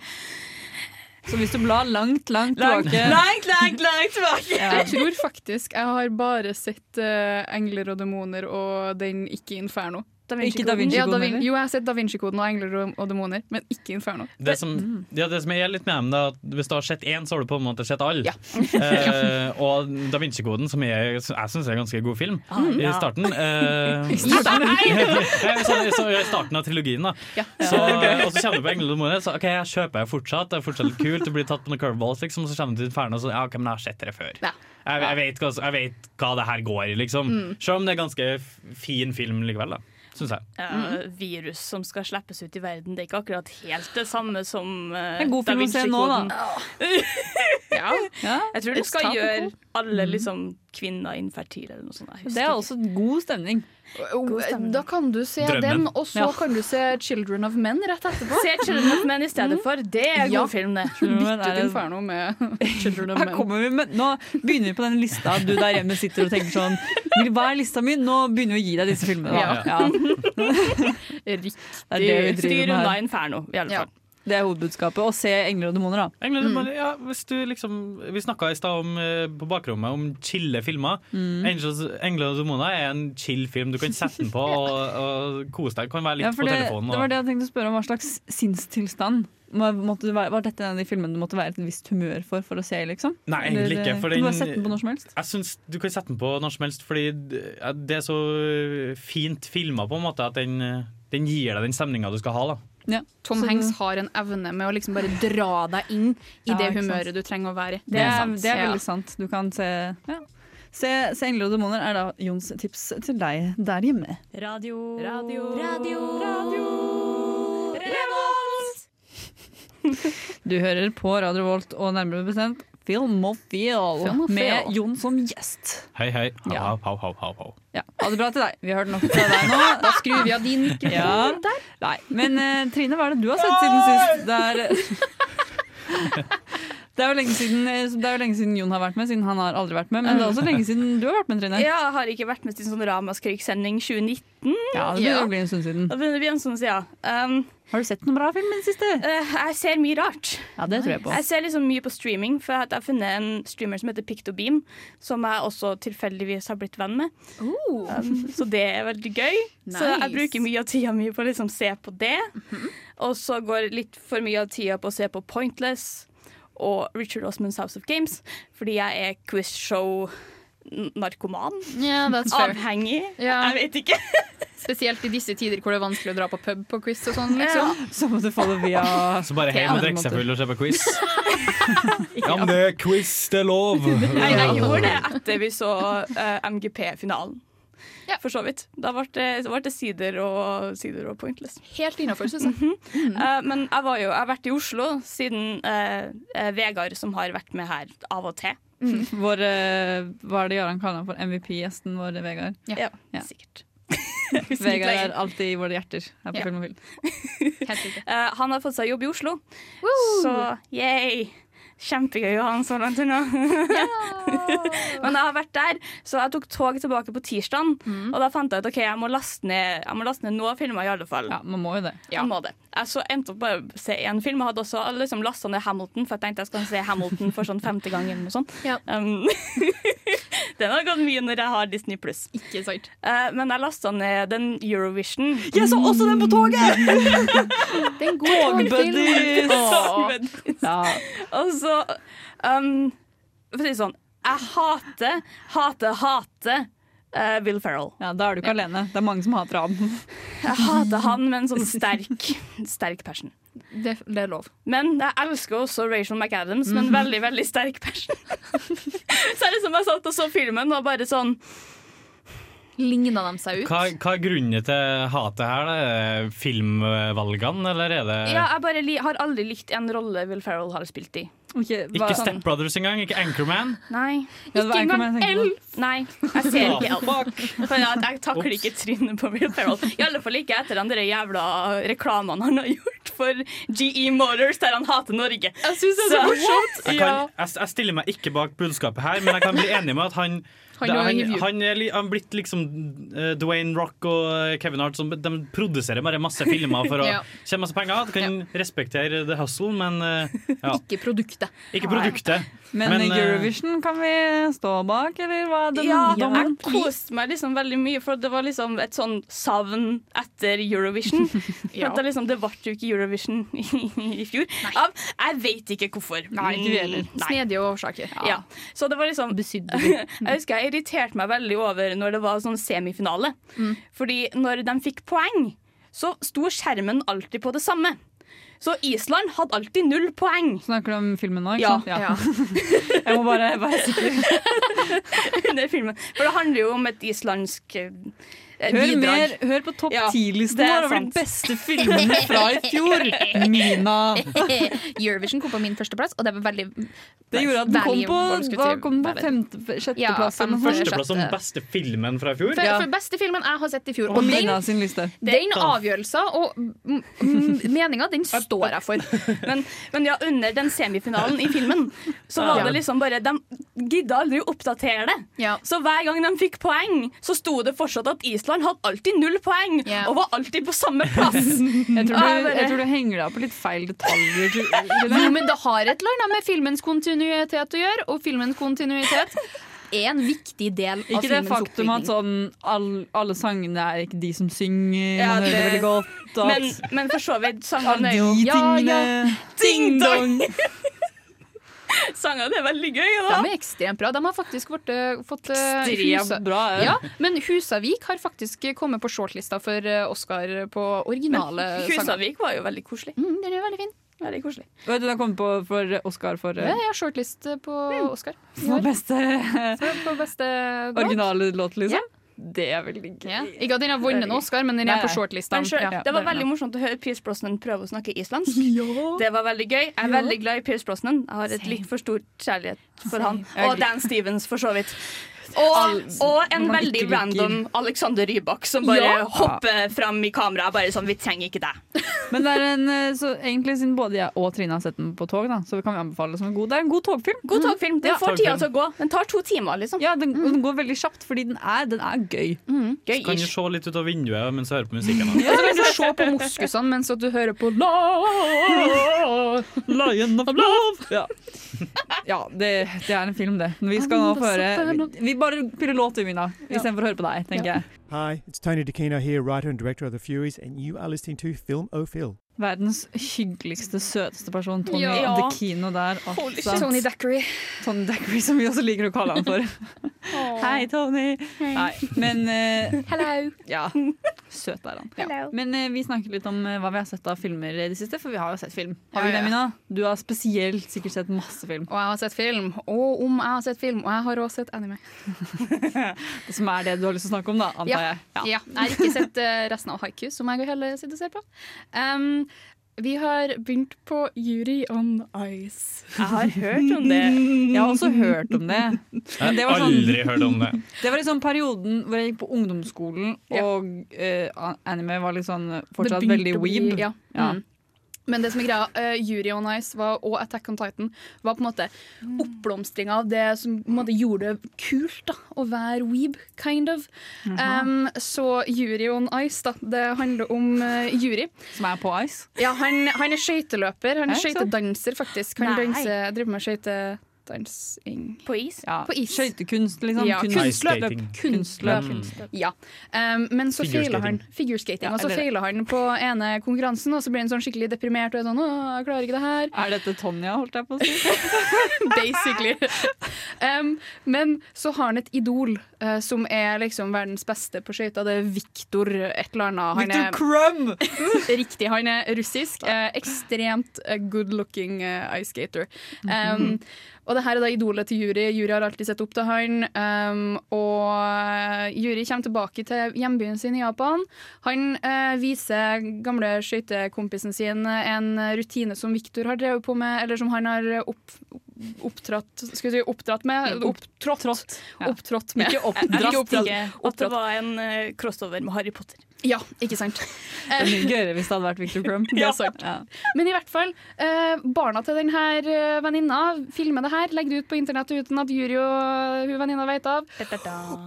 [SPEAKER 4] Så hvis du blar langt, langt
[SPEAKER 3] Langt,
[SPEAKER 4] tilbake
[SPEAKER 3] langt, langt, langt tilbake!
[SPEAKER 6] Jeg tror faktisk jeg har bare sett eh, 'Engler og demoner' og den ikke 'Inferno'. Da
[SPEAKER 4] Vinci-koden. Ikke Da Vinci-koden
[SPEAKER 6] ja, da Vin
[SPEAKER 4] heller?
[SPEAKER 6] jo, jeg har sett Da Vinci-koden og Engler og, og demoner, men ikke Inferno.
[SPEAKER 13] Det som, ja, det som jeg er litt med dem, det er at hvis du har sett én, så har du på en måte sett alle. Eh, og Da Vinci-koden, som jeg, jeg syns er en ganske god film,
[SPEAKER 14] Mm.
[SPEAKER 13] i
[SPEAKER 14] Ja.
[SPEAKER 13] starten eh,
[SPEAKER 14] I starten?
[SPEAKER 13] Ja, så, så, I starten av trilogien, da. Så, og så kommer du på Engel og demoner, så OK, jeg kjøper jeg fortsatt, det er fortsatt litt kult, du blir tatt på noen curveballs, liksom, og så kommer du til Inferno, og så ja, OK, men jeg har sett det før. Jeg, jeg, vet hva, jeg vet hva det her går i, liksom.
[SPEAKER 3] Mm.
[SPEAKER 13] Selv om det er ganske f- fin film likevel, da. Syns jeg.
[SPEAKER 4] Mm-hmm.
[SPEAKER 3] Eh, virus som skal slippes ut i verden. Det er ikke akkurat helt det samme som eh,
[SPEAKER 4] Det er en god
[SPEAKER 3] Da
[SPEAKER 4] film å se nå,
[SPEAKER 3] Vinci-koden.
[SPEAKER 4] da.
[SPEAKER 3] ja. Jeg tror det
[SPEAKER 4] It's
[SPEAKER 3] skal
[SPEAKER 4] topical.
[SPEAKER 3] gjøre alle liksom, kvinner infertile eller noe sånt. Jeg husker
[SPEAKER 4] Mm-hmm. Det er også god stemning.
[SPEAKER 6] Da kan du se
[SPEAKER 3] Drømmen.
[SPEAKER 6] den, og så
[SPEAKER 3] Ja.
[SPEAKER 6] kan du se Children of Men rett etterpå.
[SPEAKER 3] Se Children of Men i
[SPEAKER 4] Mm-hmm.
[SPEAKER 3] stedet for. Det er
[SPEAKER 6] Ja.
[SPEAKER 3] god film, det.
[SPEAKER 6] Bytte ut Inferno med Children of
[SPEAKER 4] Her
[SPEAKER 6] Men.
[SPEAKER 4] kommer vi med, nå begynner vi på den lista du der hjemme sitter og tenker sånn "Vil- Hva er lista mi? Nå begynner vi å gi deg disse filmene. Da.
[SPEAKER 3] Ja.
[SPEAKER 6] Riktig.
[SPEAKER 4] Det er det vi
[SPEAKER 3] Styr
[SPEAKER 4] driver med
[SPEAKER 3] unna
[SPEAKER 4] her.
[SPEAKER 3] Inferno, i alle fall.
[SPEAKER 4] Det er hovedbudskapet. Å se engler og demoner, da.
[SPEAKER 13] Engler, bare, ja, hvis du liksom, vi snakka i stad om, eh, på bakrommet om chille filmer.
[SPEAKER 4] Mm.
[SPEAKER 13] Angels, 'Engler og demoner' er en chill film. Du kan sette den på og, og kose deg. Kan være litt
[SPEAKER 4] Ja, for
[SPEAKER 13] på
[SPEAKER 4] det,
[SPEAKER 13] telefonen.
[SPEAKER 4] det
[SPEAKER 13] Og,
[SPEAKER 4] var det jeg tenkte å spørre om. Hva slags sinnstilstand må- måtte du være, var dette en av de filmene du måtte være i et visst humør for for å se? liksom?
[SPEAKER 13] Nei, egentlig
[SPEAKER 4] Eller,
[SPEAKER 13] ikke. For
[SPEAKER 4] du bare sette den på
[SPEAKER 13] den,
[SPEAKER 4] når som helst?
[SPEAKER 13] jeg synes Du kan sette den på når som helst, fordi d- ja, det er så eh, fint filma på en måte at den, eh, den gir deg den stemninga du skal ha. da
[SPEAKER 6] Tom
[SPEAKER 4] Så-
[SPEAKER 6] Hanks har en evne med å liksom bare dra deg inn i
[SPEAKER 4] Ja,
[SPEAKER 6] det
[SPEAKER 4] ikke sant.
[SPEAKER 6] humøret du trenger å være i.
[SPEAKER 4] Det er,
[SPEAKER 6] sant.
[SPEAKER 4] det er
[SPEAKER 6] Ja.
[SPEAKER 4] veldig sant. Du kan se ja. Se, se 'Engler og demoner' er da Jons tips til deg der hjemme.
[SPEAKER 14] Radio Radio Radio Revolt!
[SPEAKER 4] Du hører på Radio Volt og nærmere bestemt Filmofil
[SPEAKER 14] Filmofil.
[SPEAKER 4] med Jon som gjest.
[SPEAKER 13] Hei, hei. Hau, hau, hau, hau, hau.
[SPEAKER 4] Ja, Ha det bra til deg. Vi har hørt nok fra deg nå.
[SPEAKER 6] Da skrur vi av din mikrofon
[SPEAKER 4] Ja. Nei, Men eh, Trine, hva er det du har sett siden sist? Det er, det er jo lenge siden, eh, det er jo lenge siden Jon har vært med, siden han har aldri vært med. Men det er også lenge siden du har vært med, Trine.
[SPEAKER 3] Ja, jeg har ikke vært med til en sånn Ramaskrik-sending 2019.
[SPEAKER 4] Ja, det begynner å bli en stund siden.
[SPEAKER 3] Da begynner det å bli en stund siden. Um, eh,
[SPEAKER 4] har du sett noen bra film i det siste?
[SPEAKER 3] jeg ser mye rart.
[SPEAKER 4] Ja, det tror jeg på.
[SPEAKER 3] Jeg ser liksom mye på streaming, for jeg har funnet en streamer som heter Pictobeam, som jeg også tilfeldigvis har blitt venn med.
[SPEAKER 4] Uh.
[SPEAKER 3] Um, så det er veldig gøy. Så jeg
[SPEAKER 6] Nice. Mhm.
[SPEAKER 3] bruker mye av tida mi på å liksom se på det. Og så går litt for mye av tida på å se på Pointless og Richard Osmans House of Games, fordi jeg er quizshow-narkoman.
[SPEAKER 6] Yeah, that's fair.
[SPEAKER 3] Avhengig.
[SPEAKER 6] Ja.
[SPEAKER 3] Jeg vet ikke.
[SPEAKER 6] Spesielt i disse tider hvor det er vanskelig å dra på pub på quiz og sånn. Liksom.
[SPEAKER 4] Så må du få det via
[SPEAKER 13] Så bare hjem og drikke seg full og se på quiz. Ja, men det er quiz, det er lov!
[SPEAKER 3] Nei, jeg gjorde det etter vi så eh, MGP-finalen. For så vidt. Da ble det, så ble det sider og sider og pointless.
[SPEAKER 6] Helt innafor, syns jeg.
[SPEAKER 4] Mhm. Mm.
[SPEAKER 3] Eh, men jeg, var jo, jeg har vært i Oslo siden eh, eh, Vegard, som har vært med her av og til.
[SPEAKER 4] Vår, eh, hva er det Jarand kaller han for? MVP-gjesten vår, Vegard.
[SPEAKER 3] Ja, sikkert.
[SPEAKER 4] Vegard er alltid i våre hjerter her på
[SPEAKER 3] Ja.
[SPEAKER 4] Film og Film.
[SPEAKER 3] Eh, han har fått seg jobb i Oslo,
[SPEAKER 4] Uh.
[SPEAKER 3] så yay! Kjempegøy å ha han så langt unna. Men jeg har vært der, så jeg tok tog tilbake på tirsdagen.
[SPEAKER 4] Mm.
[SPEAKER 3] Og da fant jeg ut ok, jeg må laste ned, jeg må laste ned noen filmer, i alle fall.
[SPEAKER 4] Ja, man må jo det.
[SPEAKER 3] Jeg må det. Jeg så endte opp bare å se én film. Jeg hadde også liksom lasta ned Hamilton, for jeg tenkte jeg skal se Hamilton for sånn femte gang. eller noe sånt. Um, den har gått mye når jeg har Disney pluss. men jeg lasta ned den Eurovision.
[SPEAKER 4] Jeg så også den på toget!
[SPEAKER 6] Den
[SPEAKER 4] Togbuddies! Ja.
[SPEAKER 3] Og så um, For å si det sånn, jeg hater, hater, hater eh, Will Ferrell.
[SPEAKER 4] Ja, da er du ikke alene. Det er mange som hater han.
[SPEAKER 3] Jeg hater han med en sånn sterk, sterk passion.
[SPEAKER 6] Det, er lov.
[SPEAKER 3] Men jeg elsker også Rachel McAdams med en
[SPEAKER 6] Mhm.
[SPEAKER 3] veldig veldig sterk passion. så er det som jeg satt og så filmen og bare sånn
[SPEAKER 6] Ligna de seg
[SPEAKER 13] Hva, hva er grunnen til hatet her? da? Er det Filmvalgene, eller er det
[SPEAKER 3] Ja, jeg bare li har aldri likt en rolle Will Ferrell har spilt i.
[SPEAKER 13] Ikke Step Brothers engang? Ikke Anchorman?
[SPEAKER 3] Nei.
[SPEAKER 13] Ja, det var
[SPEAKER 3] ikke
[SPEAKER 13] Anchorman
[SPEAKER 3] engang
[SPEAKER 13] jeg tenkte
[SPEAKER 3] Elf! Nei, jeg ser ikke
[SPEAKER 13] Ah,
[SPEAKER 3] Elf. For jeg, jeg takler ikke trynet på Will Ferrell. I alle fall ikke etter den der jævla reklamen han har gjort for GE Motors, der han hater Norge.
[SPEAKER 6] Jeg syns
[SPEAKER 13] Jeg, kan, jeg, jeg stiller meg ikke bak budskapet her, men jeg kan bli enig med at han
[SPEAKER 18] Han
[SPEAKER 13] Det er-
[SPEAKER 18] gjør
[SPEAKER 13] han,
[SPEAKER 18] intervju.
[SPEAKER 13] han er li- han er blitt liksom eh, Dwayne Rock og eh, Kevin Hart. Som, de produserer bare masse filmer for å
[SPEAKER 18] Ja.
[SPEAKER 13] tjene masse penger. Du kan respektere the hustle, men eh, ja.
[SPEAKER 18] Ikke produktet.
[SPEAKER 13] ikke produktet.
[SPEAKER 4] Men,
[SPEAKER 13] eh,
[SPEAKER 4] Eurovision kan vi stå bak, eller hva? Den,
[SPEAKER 3] Ja,
[SPEAKER 4] dommen?
[SPEAKER 3] jeg koste meg liksom veldig mye, for det var liksom et sånn savn etter Eurovision. For at det, liksom, det ble jo ikke Eurovision i, i fjor. Av, jeg vet ikke hvorfor. Mm,
[SPEAKER 18] Nei, ikke vi heller. Snedige årsaker.
[SPEAKER 3] Ja. Så det var liksom Jeg husker jeg irriterte meg veldig over når det var sånn semifinale. Fordi når de fikk poeng, så sto skjermen alltid på det samme. Så Island hadde alltid null poeng.
[SPEAKER 4] Snakker du om filmen nå?
[SPEAKER 3] Ja.
[SPEAKER 4] Ikke
[SPEAKER 3] Ja.
[SPEAKER 4] Sant? ja. Jeg må bare være sikker.
[SPEAKER 3] under filmen. For det handler jo om et islandsk eh,
[SPEAKER 4] Hør,
[SPEAKER 3] bidrag.
[SPEAKER 4] mer, hør på topp
[SPEAKER 3] Ja, det
[SPEAKER 4] ti-listen
[SPEAKER 3] er
[SPEAKER 4] vår over de
[SPEAKER 3] sant.
[SPEAKER 4] beste filmene fra i fjor! Mina.
[SPEAKER 6] Eurovision kom på min førsteplass, og det var veldig
[SPEAKER 4] Det gjorde at den kom på, hva kom den på femte, sjetteplass. eller noe sånt?
[SPEAKER 13] Førsteplass som beste filmen fra i fjor.
[SPEAKER 6] For, for beste filmen jeg har sett i fjor.
[SPEAKER 4] Og
[SPEAKER 6] Og den,
[SPEAKER 4] Mina sin liste.
[SPEAKER 6] den avgjørelsen og mm, mm, meninga, den står jeg for.
[SPEAKER 3] Men, men ja, under den semifinalen i filmen, så var
[SPEAKER 6] Ja.
[SPEAKER 3] det liksom bare De gidda aldri å oppdatere det. Så hver gang de fikk poeng, så sto det fortsatt at Island hadde alltid null poeng, og var alltid på samme plass.
[SPEAKER 4] Jeg tror,
[SPEAKER 3] Og
[SPEAKER 4] du,
[SPEAKER 3] bare-
[SPEAKER 4] jeg tror du henger deg opp i litt feil detaljer. tror- ikke
[SPEAKER 6] Jo,
[SPEAKER 4] det?
[SPEAKER 6] men det har et eller annet med filmens kontinuitet å gjøre, og filmens kontinuitet er en viktig del av
[SPEAKER 4] Ikke det
[SPEAKER 6] filmens
[SPEAKER 4] faktum at
[SPEAKER 6] oppbygning.
[SPEAKER 4] sånn, all, alle sangene er ikke de som synger,
[SPEAKER 3] Ja,
[SPEAKER 4] man hører det
[SPEAKER 3] det-
[SPEAKER 4] veldig godt. og
[SPEAKER 3] men,
[SPEAKER 4] at-
[SPEAKER 3] men for så vidt,
[SPEAKER 4] av
[SPEAKER 3] sangene
[SPEAKER 4] de
[SPEAKER 3] er jo
[SPEAKER 4] tingene
[SPEAKER 3] Ding dong! Sangene er veldig gøy, da.
[SPEAKER 6] De er ekstremt bra. De har faktisk vært, eh, fått eh,
[SPEAKER 3] Ekstremt bra, ja.
[SPEAKER 6] ja. Men Husavik har faktisk kommet på shortlista for eh, Oscar på originale
[SPEAKER 3] Men
[SPEAKER 6] sanger.
[SPEAKER 3] Husavik var jo veldig koselig.
[SPEAKER 6] Mm, den er veldig fin.
[SPEAKER 3] Veldig koselig.
[SPEAKER 4] Vet du, den kom på for Oscar for eh,
[SPEAKER 6] Ja, jeg har shortlist på Oscar. i
[SPEAKER 4] For
[SPEAKER 6] år.
[SPEAKER 4] beste
[SPEAKER 6] For- For beste låt.
[SPEAKER 4] originale låt, liksom.
[SPEAKER 6] Ja.
[SPEAKER 4] Det er veldig gøy.
[SPEAKER 6] Ja. Ikke at den har vunnet noen Oscar, men den er
[SPEAKER 4] Nei,
[SPEAKER 6] på
[SPEAKER 4] nei.
[SPEAKER 6] shortlista.
[SPEAKER 3] Men sjøl-
[SPEAKER 6] Ja,
[SPEAKER 3] det var
[SPEAKER 6] der er
[SPEAKER 3] veldig
[SPEAKER 6] den.
[SPEAKER 3] morsomt å høre Pierce Brosnan prøve å snakke islandsk. Det var veldig gøy. Jeg er
[SPEAKER 6] Ja.
[SPEAKER 3] veldig glad i Pierce Brosnan. Jeg har et litt for stor kjærlighet for han.
[SPEAKER 4] Jeg
[SPEAKER 3] Og
[SPEAKER 4] lik-
[SPEAKER 3] Dan Stevens, for så vidt. Og, og en
[SPEAKER 4] man
[SPEAKER 3] veldig
[SPEAKER 4] ikke liker.
[SPEAKER 3] random Alexander Rybak som bare
[SPEAKER 4] Ja.
[SPEAKER 3] hopper fram i kameraet. Bare sånn 'Vi trenger ikke deg'.
[SPEAKER 4] Men det er en, eh, så egentlig siden både jeg og Trine har sett den på tog, da, så kan vi anbefale det som en god Det er en god togfilm.
[SPEAKER 3] God togfilm. Den
[SPEAKER 4] Ja.
[SPEAKER 3] får tida til å gå. Den tar to timer, liksom.
[SPEAKER 4] Ja, den, og den går veldig kjapt, fordi den er, den er gøy.
[SPEAKER 3] Gøy
[SPEAKER 13] Kan du
[SPEAKER 3] ish.
[SPEAKER 13] se litt ut av vinduet mens du hører på musikken?
[SPEAKER 6] Og så kan du se på moskusene mens at du hører på la
[SPEAKER 13] Lion of love!
[SPEAKER 4] Ja, ja det, det er en film, det. Men Vi skal nå få høre vi, vi bare piller låt, vi, Mina, istedenfor å høre på deg, tenker jeg.
[SPEAKER 17] Hi, it's Tony DeCino here, writer and director of The Furies, and you are listening to Film O'Phil.
[SPEAKER 4] Verdens hyggeligste, søteste person, Tony
[SPEAKER 6] Ja.
[SPEAKER 4] DeKino der.
[SPEAKER 6] Holy
[SPEAKER 4] altså.
[SPEAKER 6] shit. Tony Dackery.
[SPEAKER 4] Tony Dackery, som vi også liker å kalle han for. Hei, Tony. Nei, men eh,
[SPEAKER 6] Hello.
[SPEAKER 4] Ja, søt er han.
[SPEAKER 6] Hello.
[SPEAKER 4] Men eh, vi snakker litt om eh, hva vi har sett av filmer i det siste, for vi har jo sett film.
[SPEAKER 6] Ja,
[SPEAKER 4] Har vi
[SPEAKER 6] ja.
[SPEAKER 4] det, Mina? Du har spesielt sikkert sett masse film.
[SPEAKER 6] Og jeg har sett film. Og om jeg har sett film. Og jeg har også sett anime.
[SPEAKER 4] Som er det du har lyst til å snakke om, da, antar
[SPEAKER 6] ja.
[SPEAKER 4] jeg.
[SPEAKER 6] Ja. Jeg har ikke sett eh, resten av Haiku, som jeg og Helle sitter og ser på. Um, vi har begynt på Yuri on Ice.
[SPEAKER 3] Jeg har hørt om det.
[SPEAKER 4] Jeg har også hørt om det. Men det
[SPEAKER 13] Jeg
[SPEAKER 4] var
[SPEAKER 13] har
[SPEAKER 4] sånn-
[SPEAKER 13] Eh, aldri hørt om det.
[SPEAKER 4] Det var liksom perioden hvor jeg gikk på ungdomsskolen, og eh, anime var litt sånn fortsatt
[SPEAKER 6] Det begynte
[SPEAKER 4] veldig
[SPEAKER 6] å bli-
[SPEAKER 4] weeb.
[SPEAKER 6] ja. Mm. Men det som er greia, eh, Yuri on Ice var, og Attack on Titan var på en måte oppblomstringa av det som på en måte gjorde det kult da, å være weeb, kind of.
[SPEAKER 4] Jaha.
[SPEAKER 6] Um, så Yuri on Ice, da, det handler om eh, Yuri.
[SPEAKER 4] Som er på ice?
[SPEAKER 6] Ja, han, han er skøyteløper. Han er
[SPEAKER 4] Er det sant?
[SPEAKER 6] skøytedanser, faktisk. Han
[SPEAKER 4] Nei.
[SPEAKER 6] danser, driver med skøytedansing.
[SPEAKER 3] På is?
[SPEAKER 4] Ja.
[SPEAKER 6] På is.
[SPEAKER 4] Skøytekunst, liksom.
[SPEAKER 6] Ja,
[SPEAKER 4] Kunst-
[SPEAKER 6] kunstløp.
[SPEAKER 4] Ice skating.
[SPEAKER 6] Kunstløp.
[SPEAKER 13] Mm.
[SPEAKER 4] Kunstløp.
[SPEAKER 6] Ja. Um, men så
[SPEAKER 4] Figure
[SPEAKER 6] feiler han
[SPEAKER 4] skating.
[SPEAKER 6] figurskating,
[SPEAKER 4] Ja,
[SPEAKER 6] og så
[SPEAKER 4] eller-
[SPEAKER 6] feiler han på ene konkurransen, og så blir han sånn skikkelig deprimert og er sånn 'Å, jeg klarer ikke det her'.
[SPEAKER 4] Er dette Tonja, holdt jeg på å si?
[SPEAKER 6] Basically. Um, men så har han et idol eh, som er liksom verdens beste på skøyter. Det er Viktor et eller annet.
[SPEAKER 4] Victor
[SPEAKER 6] Crumb! Riktig. Han er russisk. eh, ekstremt eh, good looking eh, ice skater. Um, og det her er da idolet til Juri. Juri har alltid sett opp til han. Um, og Juri kommer tilbake til hjembyen sin i Japan. Han eh, viser gamle skøytekompisen sin en rutine som Viktor har drevet på med, eller som han har opp, opptratt Skal vi si oppdratt med? Mm, Opptrådt. Opptrådt med.
[SPEAKER 3] Ikke oppdratt.
[SPEAKER 6] Ikke oppdratt.
[SPEAKER 3] At det var en eh, crossover med Harry Potter.
[SPEAKER 6] Ja, ikke sant.
[SPEAKER 4] Det er mye gøyere hvis det hadde vært Victor Crump.
[SPEAKER 6] Det er sant. Men i hvert fall, eh, barna til denne venninna filmer det her, legger det ut på internett uten at jury og hun venninna vet av.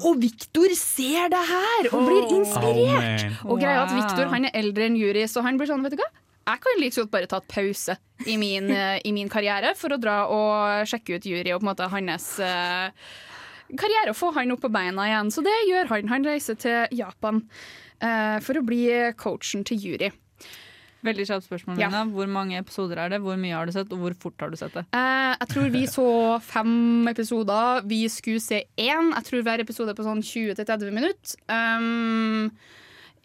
[SPEAKER 6] Og Victor ser det her og blir inspirert!
[SPEAKER 14] Oh, man.
[SPEAKER 6] og greia er at
[SPEAKER 14] Wow.
[SPEAKER 6] Victor han er eldre enn jury, så han blir sånn, vet du hva? Jeg kan like så godt bare ta et pause i min, eh, i min karriere for å dra og sjekke ut jury og på en måte hans eh, karriere og få han opp på beina igjen. Så det gjør han. Han reiser til Japan eh, for å bli coachen til jury.
[SPEAKER 4] Veldig kjapt spørsmål,
[SPEAKER 6] Ja.
[SPEAKER 4] Lina. Hvor mange episoder er det? Hvor mye har du sett, og hvor fort har du sett det?
[SPEAKER 6] Eh, jeg tror vi så fem episoder. Vi skulle se én. Jeg tror hver episode er på sånn 20-30 minutter. Um,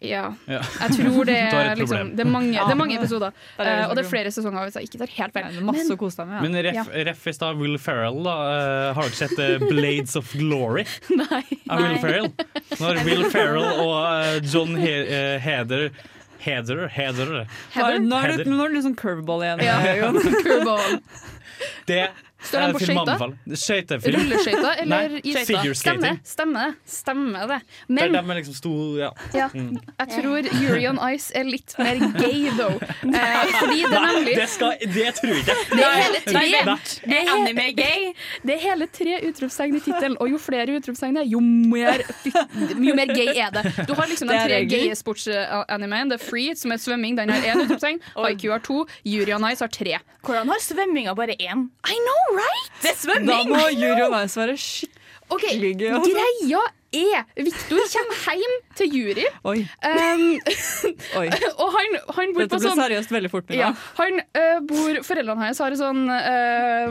[SPEAKER 6] ja.
[SPEAKER 13] Ja.
[SPEAKER 6] Jeg tror det
[SPEAKER 13] Du har
[SPEAKER 6] er,
[SPEAKER 13] et
[SPEAKER 6] liksom,
[SPEAKER 13] problem.
[SPEAKER 6] det er, mange, det er mange
[SPEAKER 4] Ja.
[SPEAKER 6] episoder.
[SPEAKER 4] Det er det vi
[SPEAKER 6] Eh, og det
[SPEAKER 4] snakker om.
[SPEAKER 6] er flere sesonger hvis jeg ikke tar helt feil.
[SPEAKER 4] Masse å kose deg med.
[SPEAKER 13] Men ref, ref i stad, Will Ferrell, da. eh, har dere sett eh, Blades of Glory? Av Will Ferrell. Når Will Ferrell og eh, John He eh, Heder Heder, Heder.
[SPEAKER 4] Heather? Nå er det,
[SPEAKER 13] Heder.
[SPEAKER 4] nå er det liksom curveball igjen.
[SPEAKER 6] Ja.
[SPEAKER 4] Jon.
[SPEAKER 13] Det
[SPEAKER 6] Står han
[SPEAKER 13] er
[SPEAKER 6] på
[SPEAKER 13] film
[SPEAKER 6] skøyter?
[SPEAKER 13] anbefalt. Skøytefilm.
[SPEAKER 6] Rulleskøyter eller
[SPEAKER 13] Nei,
[SPEAKER 6] i
[SPEAKER 13] Figure skating.
[SPEAKER 6] Stemme, stemme, stemme det.
[SPEAKER 13] Det er
[SPEAKER 6] Men
[SPEAKER 13] der vi liksom sto ja.
[SPEAKER 6] Ja.
[SPEAKER 13] Mm.
[SPEAKER 6] jeg tror Yuri on Ice er litt mer gay, though. Eh, fordi det er
[SPEAKER 13] Nei,
[SPEAKER 6] nemlig
[SPEAKER 13] det, skal, det tror jeg ikke.
[SPEAKER 6] Det er hele tre.
[SPEAKER 13] Nei, nei.
[SPEAKER 6] Det er anime gay. Det er hele tre utropstegn i tittelen, og jo flere utropstegn det er, jo mer, fyt- jo mer gay er det. Du har liksom
[SPEAKER 14] Det
[SPEAKER 6] de
[SPEAKER 14] er
[SPEAKER 6] tre
[SPEAKER 14] regelen.
[SPEAKER 6] gaye sportsanimene. Det er Free, som er svømming, den har én utropstegn. Haiku har to. Yuri on Ice har tre.
[SPEAKER 3] Hvordan har svømminga bare én?
[SPEAKER 6] I know, right?
[SPEAKER 3] Det er svømming!
[SPEAKER 4] Da må Jury og Nice være skikkelig gøy. altså.
[SPEAKER 6] Greia er Victor kommer hjem til jury.
[SPEAKER 4] Oi.
[SPEAKER 6] Um,
[SPEAKER 4] Oi.
[SPEAKER 6] og han, han bor
[SPEAKER 4] Dette
[SPEAKER 6] på
[SPEAKER 4] ble
[SPEAKER 6] sånn
[SPEAKER 4] seriøst veldig fort, Mina.
[SPEAKER 6] ja, han eh, bor, Foreldrene hans har en sånn uh,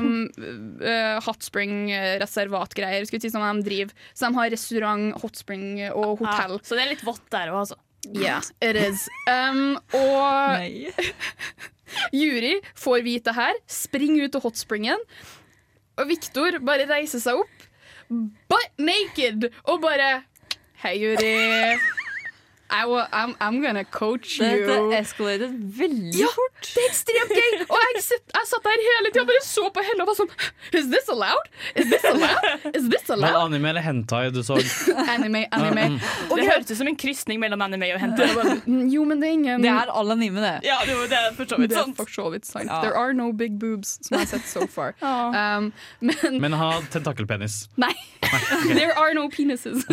[SPEAKER 6] hot spring-reservatgreier. Skulle ikke si sånn de driver. Så de har restaurant, hot spring og hotell.
[SPEAKER 3] Så det er litt vått der òg, altså.
[SPEAKER 6] Yes, it is. Um, og Juri får vite det her, springer ut til hotspringen, og Viktor bare reiser seg opp, butt naked, og bare Hei, Juri. I will, I'm, I'm gonna coach you.
[SPEAKER 4] Dette escalated veldig
[SPEAKER 6] Ja,
[SPEAKER 4] fort.
[SPEAKER 6] det er ekstremt gøy! Og jeg, sitt, jeg satt der hele tida og bare så på Helle og var sånn Is this allowed? Is this allowed? Is this
[SPEAKER 13] Men
[SPEAKER 6] allowed?
[SPEAKER 13] anime eller hentai du så?
[SPEAKER 6] Anime, anime.
[SPEAKER 13] Mm.
[SPEAKER 6] Og
[SPEAKER 3] Det
[SPEAKER 6] jeg-
[SPEAKER 3] hørtes ut som en krysning mellom anime og hente.
[SPEAKER 6] Mm, Jo, men det er ingen
[SPEAKER 4] Det er all anime, det.
[SPEAKER 3] Ja, det var- det er for så vidt
[SPEAKER 6] Det er
[SPEAKER 3] sant.
[SPEAKER 6] for så vidt sant.
[SPEAKER 3] Ja.
[SPEAKER 6] There are no big boobs, som jeg har sett so far. Um, men
[SPEAKER 13] Men ha tentakelpenis. Mm.
[SPEAKER 6] Nei. There are no penises.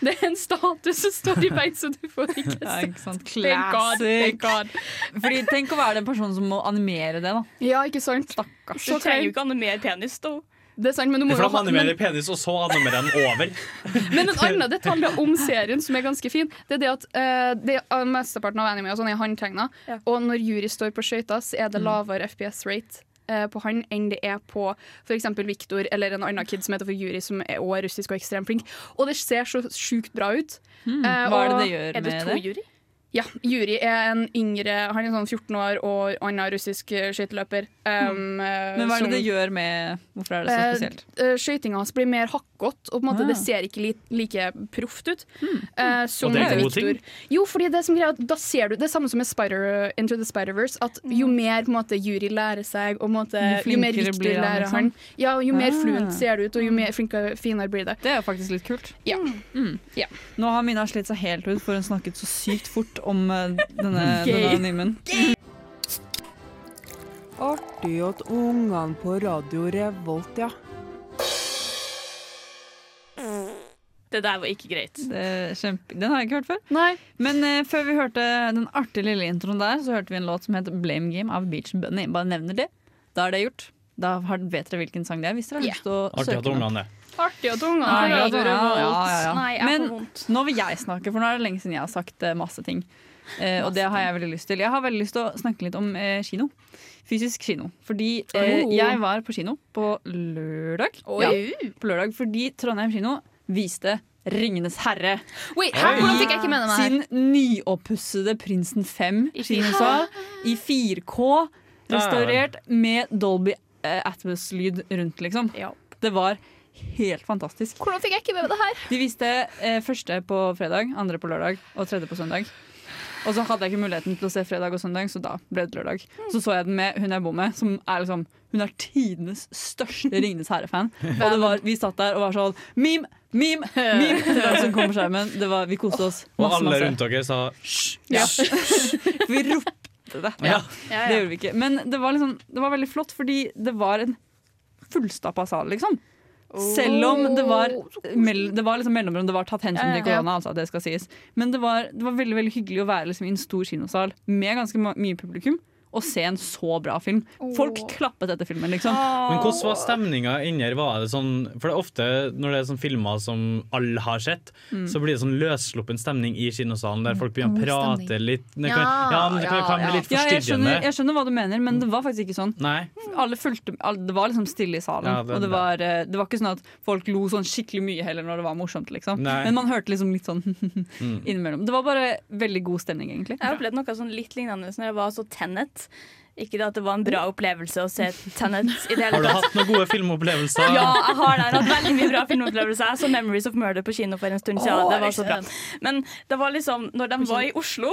[SPEAKER 6] det er en statue som står i veien, så du får ikke
[SPEAKER 4] Ja, ikke
[SPEAKER 6] sett.
[SPEAKER 4] sant?
[SPEAKER 6] Thank God, thank God.
[SPEAKER 4] Fordi Tenk å være den personen som må animere det. da
[SPEAKER 6] Ja, ikke sant? Stakkars.
[SPEAKER 3] Du trenger jo ikke animere penis, da.
[SPEAKER 6] Det er sant, men du må
[SPEAKER 13] For
[SPEAKER 6] jo
[SPEAKER 13] de
[SPEAKER 6] ha- men-
[SPEAKER 13] animerer penis, og så animerer de over.
[SPEAKER 6] Men en annen detalj om serien som er ganske fin, det er det at eh, det er mesteparten av anime og sånn er håndtegna. Og når Juri står på skøyter, så er det
[SPEAKER 4] Mm.
[SPEAKER 6] lavere FPS-rate eh, på han enn det er på f.eks. Viktor eller en annen kid som heter for Juri, som er også russisk og ekstremt flink. Og det ser så sjukt bra ut.
[SPEAKER 4] Hmm,
[SPEAKER 6] Eh,
[SPEAKER 4] Hva er
[SPEAKER 6] og-
[SPEAKER 4] det det gjør med det?
[SPEAKER 6] Ja, Juri er en yngre Han er sånn 14 år og annen russisk eh, skøyteløper. Um, eh,
[SPEAKER 4] Hmm. Men hva er
[SPEAKER 6] som-
[SPEAKER 4] det det gjør med Hvorfor er det så
[SPEAKER 6] Eh,
[SPEAKER 4] spesielt?
[SPEAKER 6] eh, Skøytinga hans blir mer hakkete, og på en måte
[SPEAKER 4] Ah.
[SPEAKER 6] det ser ikke li like proft ut. eh, som
[SPEAKER 4] Mm. Og det er en god
[SPEAKER 6] Victor.
[SPEAKER 4] ting.
[SPEAKER 6] Jo, fordi det som greier, at da ser du det er samme som med Spider, Into the Spider-Verse, at jo mer på en måte, jury lærer seg, og på en måte,
[SPEAKER 4] Mm. Jo
[SPEAKER 6] jo, mer
[SPEAKER 4] flinkere
[SPEAKER 6] Victor
[SPEAKER 4] blir han,
[SPEAKER 6] lærer
[SPEAKER 4] liksom.
[SPEAKER 6] han, ja, jo mer
[SPEAKER 4] Ah.
[SPEAKER 6] fluent ser det ut, og jo mer flinkere, finere blir det.
[SPEAKER 4] Det er jo faktisk litt kult. Hmm.
[SPEAKER 6] Ja. Hmm. Ja.
[SPEAKER 4] Nå har Mina slitt seg helt ut, for hun snakket så sykt fort om eh, denne, denne
[SPEAKER 19] Gay.
[SPEAKER 4] animen.
[SPEAKER 19] Artig at ungene på Radio Revolt, ja.
[SPEAKER 3] Det der var ikke greit.
[SPEAKER 4] Det er kjempe... Den har jeg ikke hørt før.
[SPEAKER 6] Nei.
[SPEAKER 4] Men eh, før vi hørte den artige lille introen der, så hørte vi en låt som het Blame Game av Beach Bunny. Bare nevner det. Da er det gjort. Da har, vet dere hvilken sang det er, hvis dere har lyst til å
[SPEAKER 13] Artig
[SPEAKER 4] søke
[SPEAKER 13] at
[SPEAKER 4] den opp.
[SPEAKER 13] ungene det.
[SPEAKER 6] Artig at ungene
[SPEAKER 4] Nei,
[SPEAKER 6] har
[SPEAKER 4] ja,
[SPEAKER 6] Radio
[SPEAKER 4] ja,
[SPEAKER 6] Revolt.
[SPEAKER 4] ja, ja, ja.
[SPEAKER 6] Nei, jeg får
[SPEAKER 4] Men nå vil jeg snakke, for nå er det lenge siden jeg har sagt eh, masse ting. Eh, og det har jeg veldig lyst til. Jeg har veldig lyst til å snakke litt om eh, kino. Fysisk kino. Fordi eh,
[SPEAKER 3] Oh.
[SPEAKER 4] jeg var på kino på lørdag.
[SPEAKER 3] Oi.
[SPEAKER 4] på lørdag fordi Trondheim kino viste Ringenes herre.
[SPEAKER 6] Wait, hæ? Oi. Hvordan fikk jeg ikke med meg det her?
[SPEAKER 4] Sin nyoppussede Prinsen 5
[SPEAKER 6] I
[SPEAKER 4] kinosal
[SPEAKER 6] fire-
[SPEAKER 4] i 4K. Restaurert med Dolby eh, Atmos-lyd rundt, liksom. Det var helt fantastisk.
[SPEAKER 6] Hvordan fikk jeg ikke med meg det her?
[SPEAKER 4] De viste eh, første på fredag, andre på lørdag og tredje på søndag. Og så hadde jeg ikke muligheten til å se fredag og søndag, så da ble det lørdag. Så så jeg den med hun jeg bor med, som er liksom Hun er tidenes største Ringenes herre-fan. Og det var, vi satt der og var sånn Meme Meme! Meme! Det var som kom på skjermen. Det var, vi koste oss.
[SPEAKER 13] Og alle rundt dere sa hysj.
[SPEAKER 4] Ja. vi ropte det.
[SPEAKER 13] Ja.
[SPEAKER 4] Det gjorde vi ikke. Men det var, liksom, det var veldig flott, fordi det var en fullstappa sal, liksom. Selv om det var, mell det var liksom mellomrom, det var tatt hensyn
[SPEAKER 3] Ja, ja,
[SPEAKER 4] til
[SPEAKER 3] ja.
[SPEAKER 4] korona. Altså, det skal sies. Men det var, det var veldig veldig hyggelig å være liksom, i en stor kinosal med ganske ma- mye publikum og se en så bra film. Folk klappet etter filmen, liksom.
[SPEAKER 3] Ah.
[SPEAKER 13] Men hvordan var stemninga inni her? Var det sånn, for det er ofte når det er sånn filmer som alle har sett,
[SPEAKER 4] Mm.
[SPEAKER 13] så blir det sånn løssluppen stemning i kinosalen der folk begynner
[SPEAKER 4] God
[SPEAKER 13] å prate
[SPEAKER 4] stemning.
[SPEAKER 13] litt. Det kan, ja, men det kan, kan bli litt
[SPEAKER 4] Ja, jeg,
[SPEAKER 13] forstyrrende.
[SPEAKER 4] skjønner, jeg skjønner hva du mener, men det var faktisk ikke sånn.
[SPEAKER 13] Nei.
[SPEAKER 4] Alle fulgte, alle, det var liksom stille i salen.
[SPEAKER 13] Ja, det-
[SPEAKER 4] og det var, eh, det var ikke sånn at folk lo sånn skikkelig mye heller når det var morsomt. Liksom.
[SPEAKER 3] Nei.
[SPEAKER 4] Men man hørte liksom litt sånn
[SPEAKER 3] Mm.
[SPEAKER 4] innimellom. Det var bare veldig god stemning, egentlig.
[SPEAKER 3] Jeg har opplevd noe sånn litt lignende når jeg var så Tenet. Ikke det at det var en bra opplevelse å se Tenet i det hele
[SPEAKER 13] Har du
[SPEAKER 3] tatt.
[SPEAKER 13] hatt noen gode filmopplevelser?
[SPEAKER 3] Ja, jeg har det. Jeg har hatt veldig mye bra filmopplevelser. Jeg så 'Memories of Murder' på kino for en stund siden.
[SPEAKER 4] Åh,
[SPEAKER 3] det var så bra.
[SPEAKER 4] ikke
[SPEAKER 3] Men det var liksom når de var i Oslo,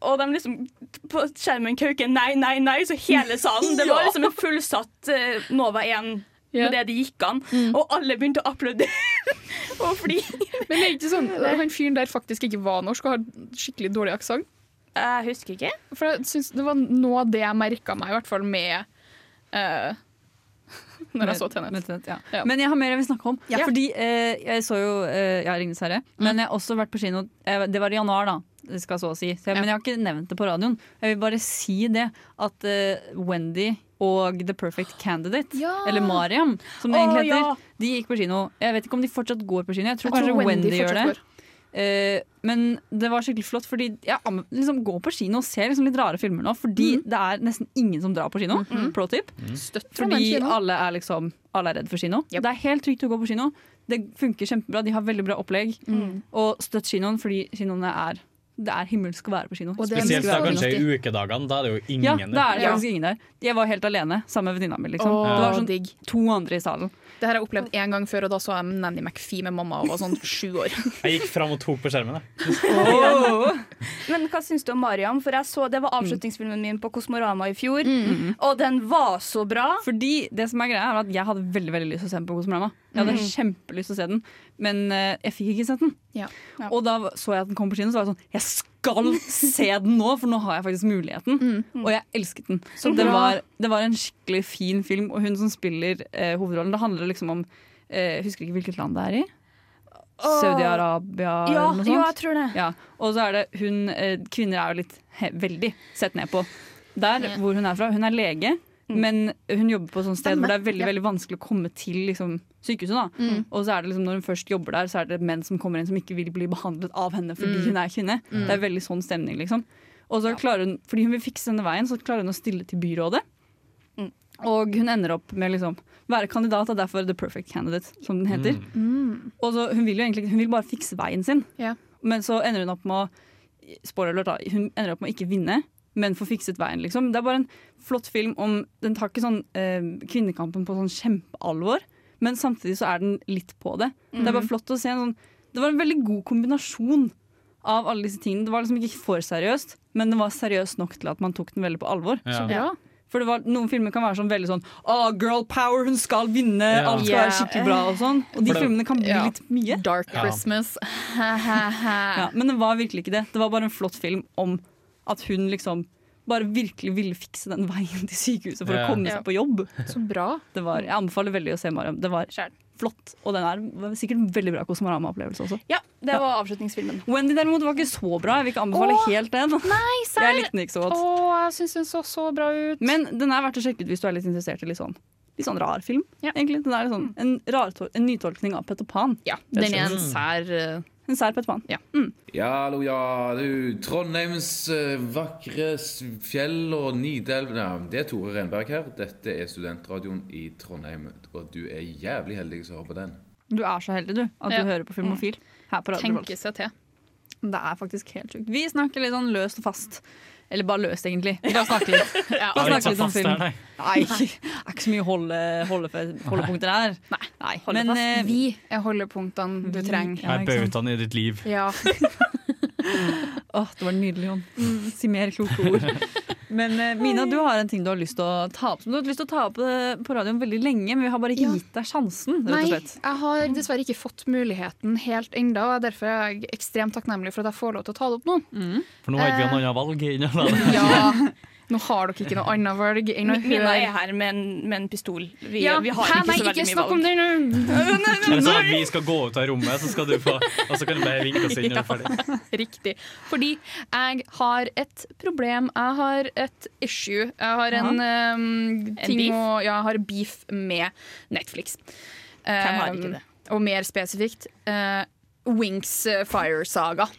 [SPEAKER 3] og de liksom på skjermen kauker 'nei, nei, nei', så hele salen. Det var
[SPEAKER 4] Ja.
[SPEAKER 3] liksom en fullsatt eh, Nova 1 med det det gikk an. Og alle begynte å applaudere. og fly.
[SPEAKER 6] Men det er ikke sånn han fyren der faktisk ikke var norsk og har skikkelig dårlig aksent?
[SPEAKER 3] Jeg husker ikke.
[SPEAKER 6] For jeg synes Det var noe av det jeg merka meg, i hvert fall med eh, Når jeg så Tenet.
[SPEAKER 4] ja. Men jeg har mer jeg vil snakke om. Fordi eh, jeg så jo eh, Jeg har Ringenes
[SPEAKER 6] Mm.
[SPEAKER 4] herre, men jeg har også vært på kino eh, Det var i januar, da. Det skal så å si. Så jeg, Men jeg har ikke nevnt det på radioen. Jeg vil bare si det at eh, Wendy og The Perfect Candidate, eller Mariam, som det
[SPEAKER 3] Å,
[SPEAKER 4] egentlig heter,
[SPEAKER 3] ja.
[SPEAKER 4] de gikk på kino. Jeg vet ikke om de fortsatt går på kino. Jeg tror
[SPEAKER 3] Jeg tror
[SPEAKER 4] kanskje
[SPEAKER 3] Wendy
[SPEAKER 4] Wendy, gjør
[SPEAKER 3] fortsatt
[SPEAKER 4] det. Eh, men det var skikkelig flott, fordi jeg anbe- liksom, gå på kino og se liksom litt rare filmer nå. Fordi det er nesten ingen som drar på kino. Pro tip.
[SPEAKER 6] Trondheim
[SPEAKER 4] Fordi
[SPEAKER 6] kino.
[SPEAKER 4] alle er liksom Alle er redd for kino. Det er helt trygt å gå på kino. Det funker kjempebra. De har veldig bra opplegg.
[SPEAKER 6] Mm.
[SPEAKER 4] Og støtt kinoen, fordi kinoene er Det er himmelsk å være på kino.
[SPEAKER 13] Spesielt da kanskje i ukedagene. Da er det jo ingen
[SPEAKER 4] Ja, da er det
[SPEAKER 13] der.
[SPEAKER 4] faktisk ingen der. Jeg var helt alene sammen med venninna mi. Liksom.
[SPEAKER 6] Åh,
[SPEAKER 4] det var sånn to andre i salen.
[SPEAKER 6] Det her har jeg opplevd én gang før, og da så jeg Nanny McPhee med mamma og var sånn sju år.
[SPEAKER 13] Jeg gikk fram og tok på skjermen. Jeg.
[SPEAKER 3] Men hva syns du om Mariam? For jeg så, Det var avslutningsfilmen min på Kosmorama i fjor, og den var så bra.
[SPEAKER 4] Fordi det som er greia er at Jeg hadde veldig veldig lyst til å se den på Kosmorama. Jeg hadde
[SPEAKER 3] Mm.
[SPEAKER 4] kjempelyst til å se den, men eh, jeg fikk ikke sett den. Og da så jeg at den kom på kino, så var jeg sånn Jeg skal se den nå, for nå har jeg faktisk muligheten. Og jeg elsket den.
[SPEAKER 3] Mm. Så
[SPEAKER 4] det,
[SPEAKER 3] bra.
[SPEAKER 4] var, det var en skikkelig fin film, og hun som spiller eh, hovedrollen Det handler liksom om eh, Jeg husker ikke hvilket land det er i.
[SPEAKER 3] Åh.
[SPEAKER 4] Saudi-Arabia
[SPEAKER 3] Ja,
[SPEAKER 4] eller noe sånt.
[SPEAKER 3] jo, jeg tror det.
[SPEAKER 4] Ja. Og så er det hun eh, Kvinner er jo litt he veldig sett ned på der hvor hun er fra. Hun er lege, men hun jobber på et sånt sted hvor det er veldig
[SPEAKER 3] Mm. Ja.
[SPEAKER 4] veldig vanskelig å komme til liksom, sykehuset. Da.
[SPEAKER 3] Mm.
[SPEAKER 4] Og så er det liksom, når hun først jobber der, så er det menn som kommer inn som ikke vil bli behandlet av henne fordi
[SPEAKER 3] Mm.
[SPEAKER 4] hun er kvinne.
[SPEAKER 3] Mm.
[SPEAKER 4] Det er veldig sånn stemning, liksom. Og så klarer hun, fordi hun vil fikse denne veien, så klarer hun å stille til byrådet.
[SPEAKER 3] Mm.
[SPEAKER 4] Og hun ender opp med å liksom, være kandidat, og derfor The Perfect Candidate, som den heter.
[SPEAKER 13] Mm.
[SPEAKER 6] Mm,
[SPEAKER 4] Og så, hun vil jo egentlig hun vil bare fikse veien sin, men så ender hun opp med å Spoiler alert, da. Hun ender opp med å ikke vinne, men får fikset veien, liksom. Det er bare en flott film om Den tar ikke sånn eh, kvinnekampen på sånn kjempealvor, men samtidig så er den litt på det. Det er
[SPEAKER 3] Mhm.
[SPEAKER 4] bare flott å se en sånn Det var en veldig god kombinasjon av alle disse tingene. Det var liksom ikke for seriøst, men det var seriøst nok til at man tok den veldig på alvor.
[SPEAKER 3] Ja. Så bra.
[SPEAKER 4] For det var, Noen filmer kan være sånn veldig sånn «Åh, girl power, hun skal vinne,
[SPEAKER 3] Ja.
[SPEAKER 4] alt skal være skikkelig bra. og sånn Og de
[SPEAKER 3] For det-
[SPEAKER 4] filmene kan bli
[SPEAKER 3] ja.
[SPEAKER 4] litt mye. Dark
[SPEAKER 3] Ja.
[SPEAKER 6] Christmas.
[SPEAKER 4] ja, men det var virkelig ikke det. Det var bare en flott film om at hun liksom bare virkelig ville fikse den veien til sykehuset for
[SPEAKER 3] Ja.
[SPEAKER 4] å komme
[SPEAKER 3] Ja.
[SPEAKER 4] seg på jobb.
[SPEAKER 6] Så bra.
[SPEAKER 4] Det var, jeg anbefaler veldig å se Mariam. Det var flott, og den er var sikkert en veldig bra Kosmorama-opplevelse også.
[SPEAKER 3] Ja, det var avslutningsfilmen.
[SPEAKER 4] Wendy derimot var ikke så bra. Jeg vil ikke anbefale
[SPEAKER 6] Åh,
[SPEAKER 4] helt den.
[SPEAKER 6] Nei, serr!
[SPEAKER 4] Jeg likte den ikke så godt.
[SPEAKER 6] Å, jeg syns den så så bra ut.
[SPEAKER 4] Men den er verdt å sjekke ut hvis du er litt interessert i litt sånn, litt sånn rar film. Egentlig. Den er litt sånn, en, rartol- en nytolkning av Petter Pan. rett og
[SPEAKER 6] den er en
[SPEAKER 4] slett.
[SPEAKER 6] sær eh,
[SPEAKER 4] En sær Petter Pan. Mm.
[SPEAKER 20] Ja, hallo, ja, du. Trondheims eh, vakre s- fjell og Nidelv ja, Det er Tore Renberg her. Dette er studentradioen i Trondheim, og du er jævlig heldig som hører på den.
[SPEAKER 4] Du er så heldig, du, at
[SPEAKER 6] Ja.
[SPEAKER 4] du hører på Filmofil. Her på Radio Revolt.
[SPEAKER 6] Tenke seg til.
[SPEAKER 4] Det er faktisk helt sjukt. Vi snakker litt sånn løst og fast. Eller bare løst, egentlig. Vi bare snakker litt,
[SPEAKER 6] Ja.
[SPEAKER 4] bare
[SPEAKER 6] Ja,
[SPEAKER 4] snakker litt om
[SPEAKER 6] ikke
[SPEAKER 4] film.
[SPEAKER 6] fast der, nei.
[SPEAKER 4] Nei, det er ikke så mye holde, holde, holdepunkter her. Nei.
[SPEAKER 6] Holde
[SPEAKER 4] Men,
[SPEAKER 6] fast.
[SPEAKER 4] eh,
[SPEAKER 6] vi er holdepunktene du trenger.
[SPEAKER 13] Jeg er bautaen i ditt liv.
[SPEAKER 6] Ja.
[SPEAKER 4] Åh, det var nydelig, Jon. Si mer Mm, kloke ord. Men eh, Mina, du har en ting du har lyst til å ta opp som du har hatt lyst til å ta opp eh, på radioen veldig lenge, men vi har bare ikke gitt deg sjansen, rett og
[SPEAKER 6] Nei,
[SPEAKER 4] slett.
[SPEAKER 6] jeg har dessverre ikke fått muligheten helt enda, og derfor er jeg ekstremt takknemlig for at jeg får lov til å ta det opp nå.
[SPEAKER 13] For nå har ikke
[SPEAKER 6] Eh,
[SPEAKER 13] vi noe annet valg. enn å la det.
[SPEAKER 6] Ja, nå har dere ikke noe annet valg enn å
[SPEAKER 3] Mi- Mina er
[SPEAKER 6] høre
[SPEAKER 3] her med en, med en pistol. Vi,
[SPEAKER 6] Ja,
[SPEAKER 3] vi har
[SPEAKER 6] hæ,
[SPEAKER 3] ikke
[SPEAKER 6] nei,
[SPEAKER 3] så veldig
[SPEAKER 6] ikke
[SPEAKER 3] mye
[SPEAKER 6] snakk
[SPEAKER 3] valg.
[SPEAKER 6] om det nå!
[SPEAKER 13] Er det sånn at vi skal gå ut av rommet, så skal du få Og så kan du bare vinke oss inn når vi er ferdig.
[SPEAKER 6] Riktig. Fordi jeg har et problem. Jeg har et issue. Jeg har en um, ting
[SPEAKER 3] beef?
[SPEAKER 6] å Ja, jeg har beef med Netflix.
[SPEAKER 3] Hvem har ikke det?
[SPEAKER 6] Um, Og mer spesifikt uh, Wings uh, Fire Saga.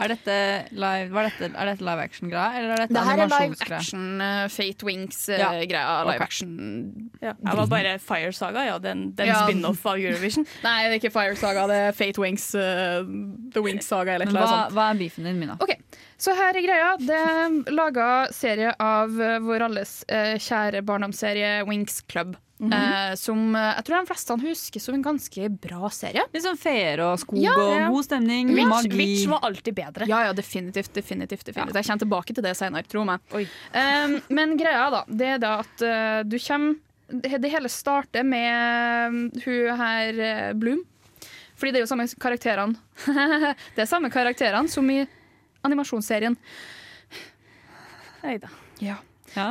[SPEAKER 4] Er dette live, hva er dette, er dette live action-greia, eller er dette
[SPEAKER 6] Det her er live
[SPEAKER 4] animasjonsgreia?
[SPEAKER 6] action,
[SPEAKER 3] eh,
[SPEAKER 6] uh, Fate
[SPEAKER 3] Ja.
[SPEAKER 6] Wings-greia. live
[SPEAKER 3] Ok.
[SPEAKER 6] action.
[SPEAKER 3] Ja. Jeg var bare Fire Saga, ja. Den, den
[SPEAKER 6] Ja.
[SPEAKER 3] spin-off av Eurovision.
[SPEAKER 6] Nei, det er ikke Fire Saga, det er Fate Wings. Uh, The Wings Saga, eller
[SPEAKER 4] Men
[SPEAKER 6] et eller
[SPEAKER 4] hva,
[SPEAKER 6] annet sånt.
[SPEAKER 4] hva er beefen din, Mina?
[SPEAKER 6] Ok, Så her er greia. Det er laga serie av eh, vår alles eh, kjære barndomsserie Winx Club. eh, som eh, jeg tror de fleste han husker som en ganske bra serie.
[SPEAKER 4] Litt sånn feer og skog
[SPEAKER 6] Ja.
[SPEAKER 4] og god stemning,
[SPEAKER 6] Witch-
[SPEAKER 4] magi.
[SPEAKER 6] Witch var alltid bedre. Ja, ja, definitivt. definitivt, definitivt. Jeg kommer tilbake til det senere, tro meg. Um, men greia da, det er da at uh, du kommer Det hele starter med um, hun her, uh, Bloom. Fordi det er jo samme karakterene. det er samme karakterene som i animasjonsserien.
[SPEAKER 3] Neida.
[SPEAKER 6] Ja.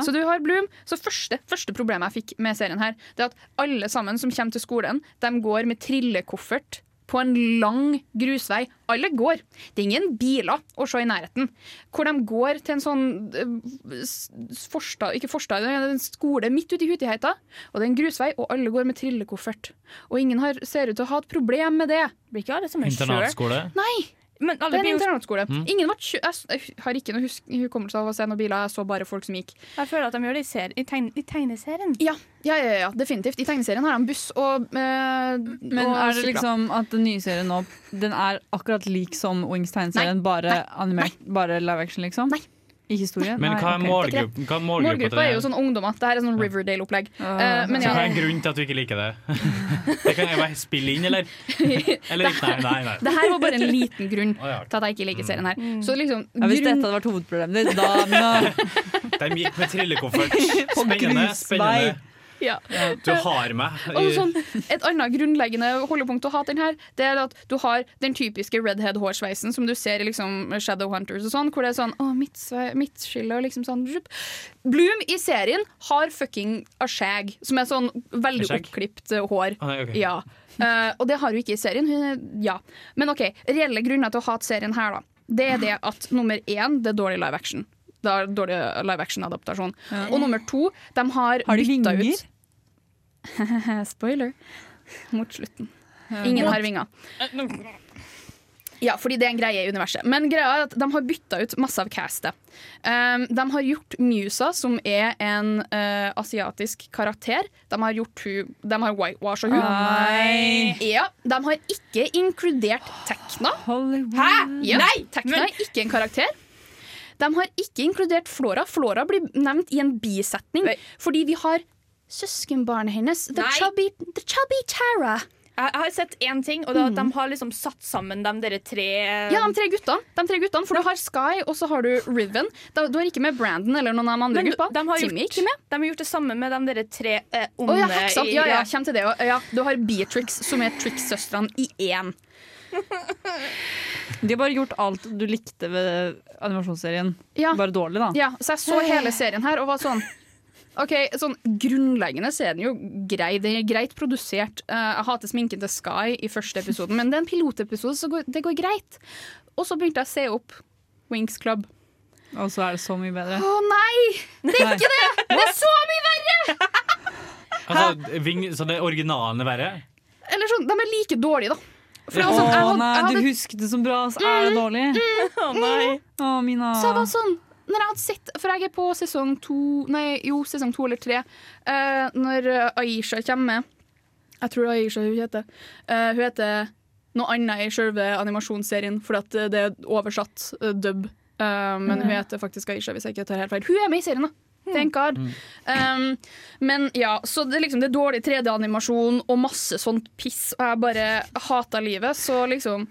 [SPEAKER 6] Så du har Bloom. Så første, første problemet jeg fikk med serien her, det er at alle sammen som kommer til skolen, de går med trillekoffert på en lang grusvei. Alle går. Det er ingen biler å se i nærheten. Hvor de går til en sånn eh, s- forstad, ikke forstad, det er en skole midt ute i Hutiheita, og det er en grusvei, og alle går med trillekoffert. Og ingen har, ser ut til å ha et problem med det.
[SPEAKER 3] Blir ikke alle som er
[SPEAKER 13] Internatskole.
[SPEAKER 6] Nei!
[SPEAKER 3] Men alle
[SPEAKER 6] det er en
[SPEAKER 3] blir jo-
[SPEAKER 6] internatskole.
[SPEAKER 13] Mm.
[SPEAKER 6] Ingen var tju- jeg, s- jeg har ikke noe husk- hukommelse av å se noen biler, jeg så bare folk som gikk.
[SPEAKER 3] Jeg føler at de gjør det i, seri- i, tegn i tegneserien.
[SPEAKER 6] Ja, ja, ja, ja, definitivt. I tegneserien har han buss og eh,
[SPEAKER 4] Men
[SPEAKER 6] og
[SPEAKER 4] er det
[SPEAKER 6] sykler.
[SPEAKER 4] liksom at den nye serien nå Den er akkurat lik som Wings tegneserien, bare, animert, bare live action, liksom? Nei. I historien?
[SPEAKER 13] Men hva er
[SPEAKER 4] Nei, ok.
[SPEAKER 13] målgruppen? Hva er målgruppen til
[SPEAKER 6] Målgruppa
[SPEAKER 13] det
[SPEAKER 6] er
[SPEAKER 13] her?
[SPEAKER 6] jo sånn ungdommer. Det her er sånn Riverdale-opplegg. Eh, men
[SPEAKER 13] Så
[SPEAKER 6] ja,
[SPEAKER 13] hva er grunnen til at du ikke liker det? Det kan jeg bare spille inn, eller? Eller ikke? Nei, nei. nei.
[SPEAKER 6] det her var bare en liten grunn
[SPEAKER 13] Å, ja.
[SPEAKER 6] til at jeg ikke liker serien her. Så liksom,
[SPEAKER 4] Mm. Ja, hvis dette
[SPEAKER 6] grunn-
[SPEAKER 4] hadde vært hovedproblemet ditt, da Mina,
[SPEAKER 13] De gikk med trillekoffert. Spennende.
[SPEAKER 4] grusvei.
[SPEAKER 13] spennende.
[SPEAKER 6] ja.
[SPEAKER 13] Du har meg.
[SPEAKER 6] Og sånn, et annet grunnleggende holdepunkt å ha til den her, det er at du har den typiske redhead-hårsveisen som du ser i liksom Shadowhunters og sånn, hvor det er sånn Å, midtsve- midtskille og liksom sånn rup. Bloom i serien har fucking a shag, som er sånn veldig
[SPEAKER 13] A shag?
[SPEAKER 6] oppklipt eh, hår.
[SPEAKER 13] Ah, nei, ok.
[SPEAKER 6] Ja. Eh, og det har hun ikke i serien. Hun, er- ja. Men OK, reelle grunner til å hate serien her, da. Det er det at nummer én, det er dårlig live action. Det er dårlig live action-adaptasjon. Og nummer to, de har,
[SPEAKER 4] Har de
[SPEAKER 6] bytta
[SPEAKER 4] vinger?
[SPEAKER 6] ut Spoiler. Mot slutten.
[SPEAKER 4] Eh,
[SPEAKER 6] Ingen har vinger. Ja, fordi det er en greie i universet. Men greia er at de har bytta ut masse av castet. Um, de har gjort Musa, som er en eh, asiatisk karakter. De har gjort hun De har whitewasha hun.
[SPEAKER 4] Nei.
[SPEAKER 6] Ja, de har ikke inkludert Tekna. Hæ? Ja,
[SPEAKER 3] Nei,
[SPEAKER 6] Tekna er ikke en karakter. De har ikke inkludert Flora. Flora blir nevnt i en bisetning fordi vi har søskenbarnet hennes, the
[SPEAKER 3] Nei.
[SPEAKER 6] chubby, the chubby Tara.
[SPEAKER 3] Jeg jeg har sett én ting, og det er at de har liksom satt sammen de dere tre
[SPEAKER 6] Ja, de tre guttene. De tre guttene for du har Sky og så har du Riven. Da- Du har ikke med Brandon eller noen av de andre
[SPEAKER 3] Men
[SPEAKER 6] gruppa.
[SPEAKER 3] de har
[SPEAKER 6] Timmy
[SPEAKER 3] gjort-
[SPEAKER 6] ikke med.
[SPEAKER 3] de har gjort det samme med de dere tre eh, onde
[SPEAKER 6] Å ja, heksa.
[SPEAKER 3] i-
[SPEAKER 6] ja, ja, kjem til det. også. Ja, du har Beatrix, som er Trix-søstrene i én.
[SPEAKER 4] De har bare gjort alt du likte ved animasjonsserien,
[SPEAKER 6] Ja.
[SPEAKER 4] bare dårlig, da.
[SPEAKER 6] Ja, så jeg så hele serien her og var sånn Ok, sånn Grunnleggende så er den jo grei. Den er greit produsert. Eh, jeg hater sminken til Sky i første episoden, men det er en pilotepisode, så går, det går greit. Og så begynte jeg å se opp Wings Club.
[SPEAKER 4] Og så er det så mye bedre.
[SPEAKER 6] Å nei! Det er ikke det! Det er så mye verre!
[SPEAKER 13] Altså, ving, så det originalen er verre?
[SPEAKER 6] Eller sånn, De er like dårlige, da. For det
[SPEAKER 13] altså.
[SPEAKER 6] var sånn,
[SPEAKER 4] Å
[SPEAKER 6] jeg hadde,
[SPEAKER 4] nei,
[SPEAKER 6] jeg hadde,
[SPEAKER 4] du husket det som bra, så er det dårlig? Å nei. Å, Mina.
[SPEAKER 6] Så jeg var sånn når jeg hadde sett, For jeg er på sesong to Nei, jo, sesong to eller tre. eh, når eh, Aisha kommer Jeg tror det er Aisha hun heter. Eh, hun heter noe annet i selve animasjonsserien, for at eh, det er oversatt eh, dub. Eh, men hun heter faktisk Aisha, hvis jeg ikke tar helt feil. Hun er med i serien, da!
[SPEAKER 4] Hmm.
[SPEAKER 6] Thank God. Um, men ja, så det, er liksom, det er dårlig 3D-animasjon og masse sånt piss, og jeg bare hater livet. Så liksom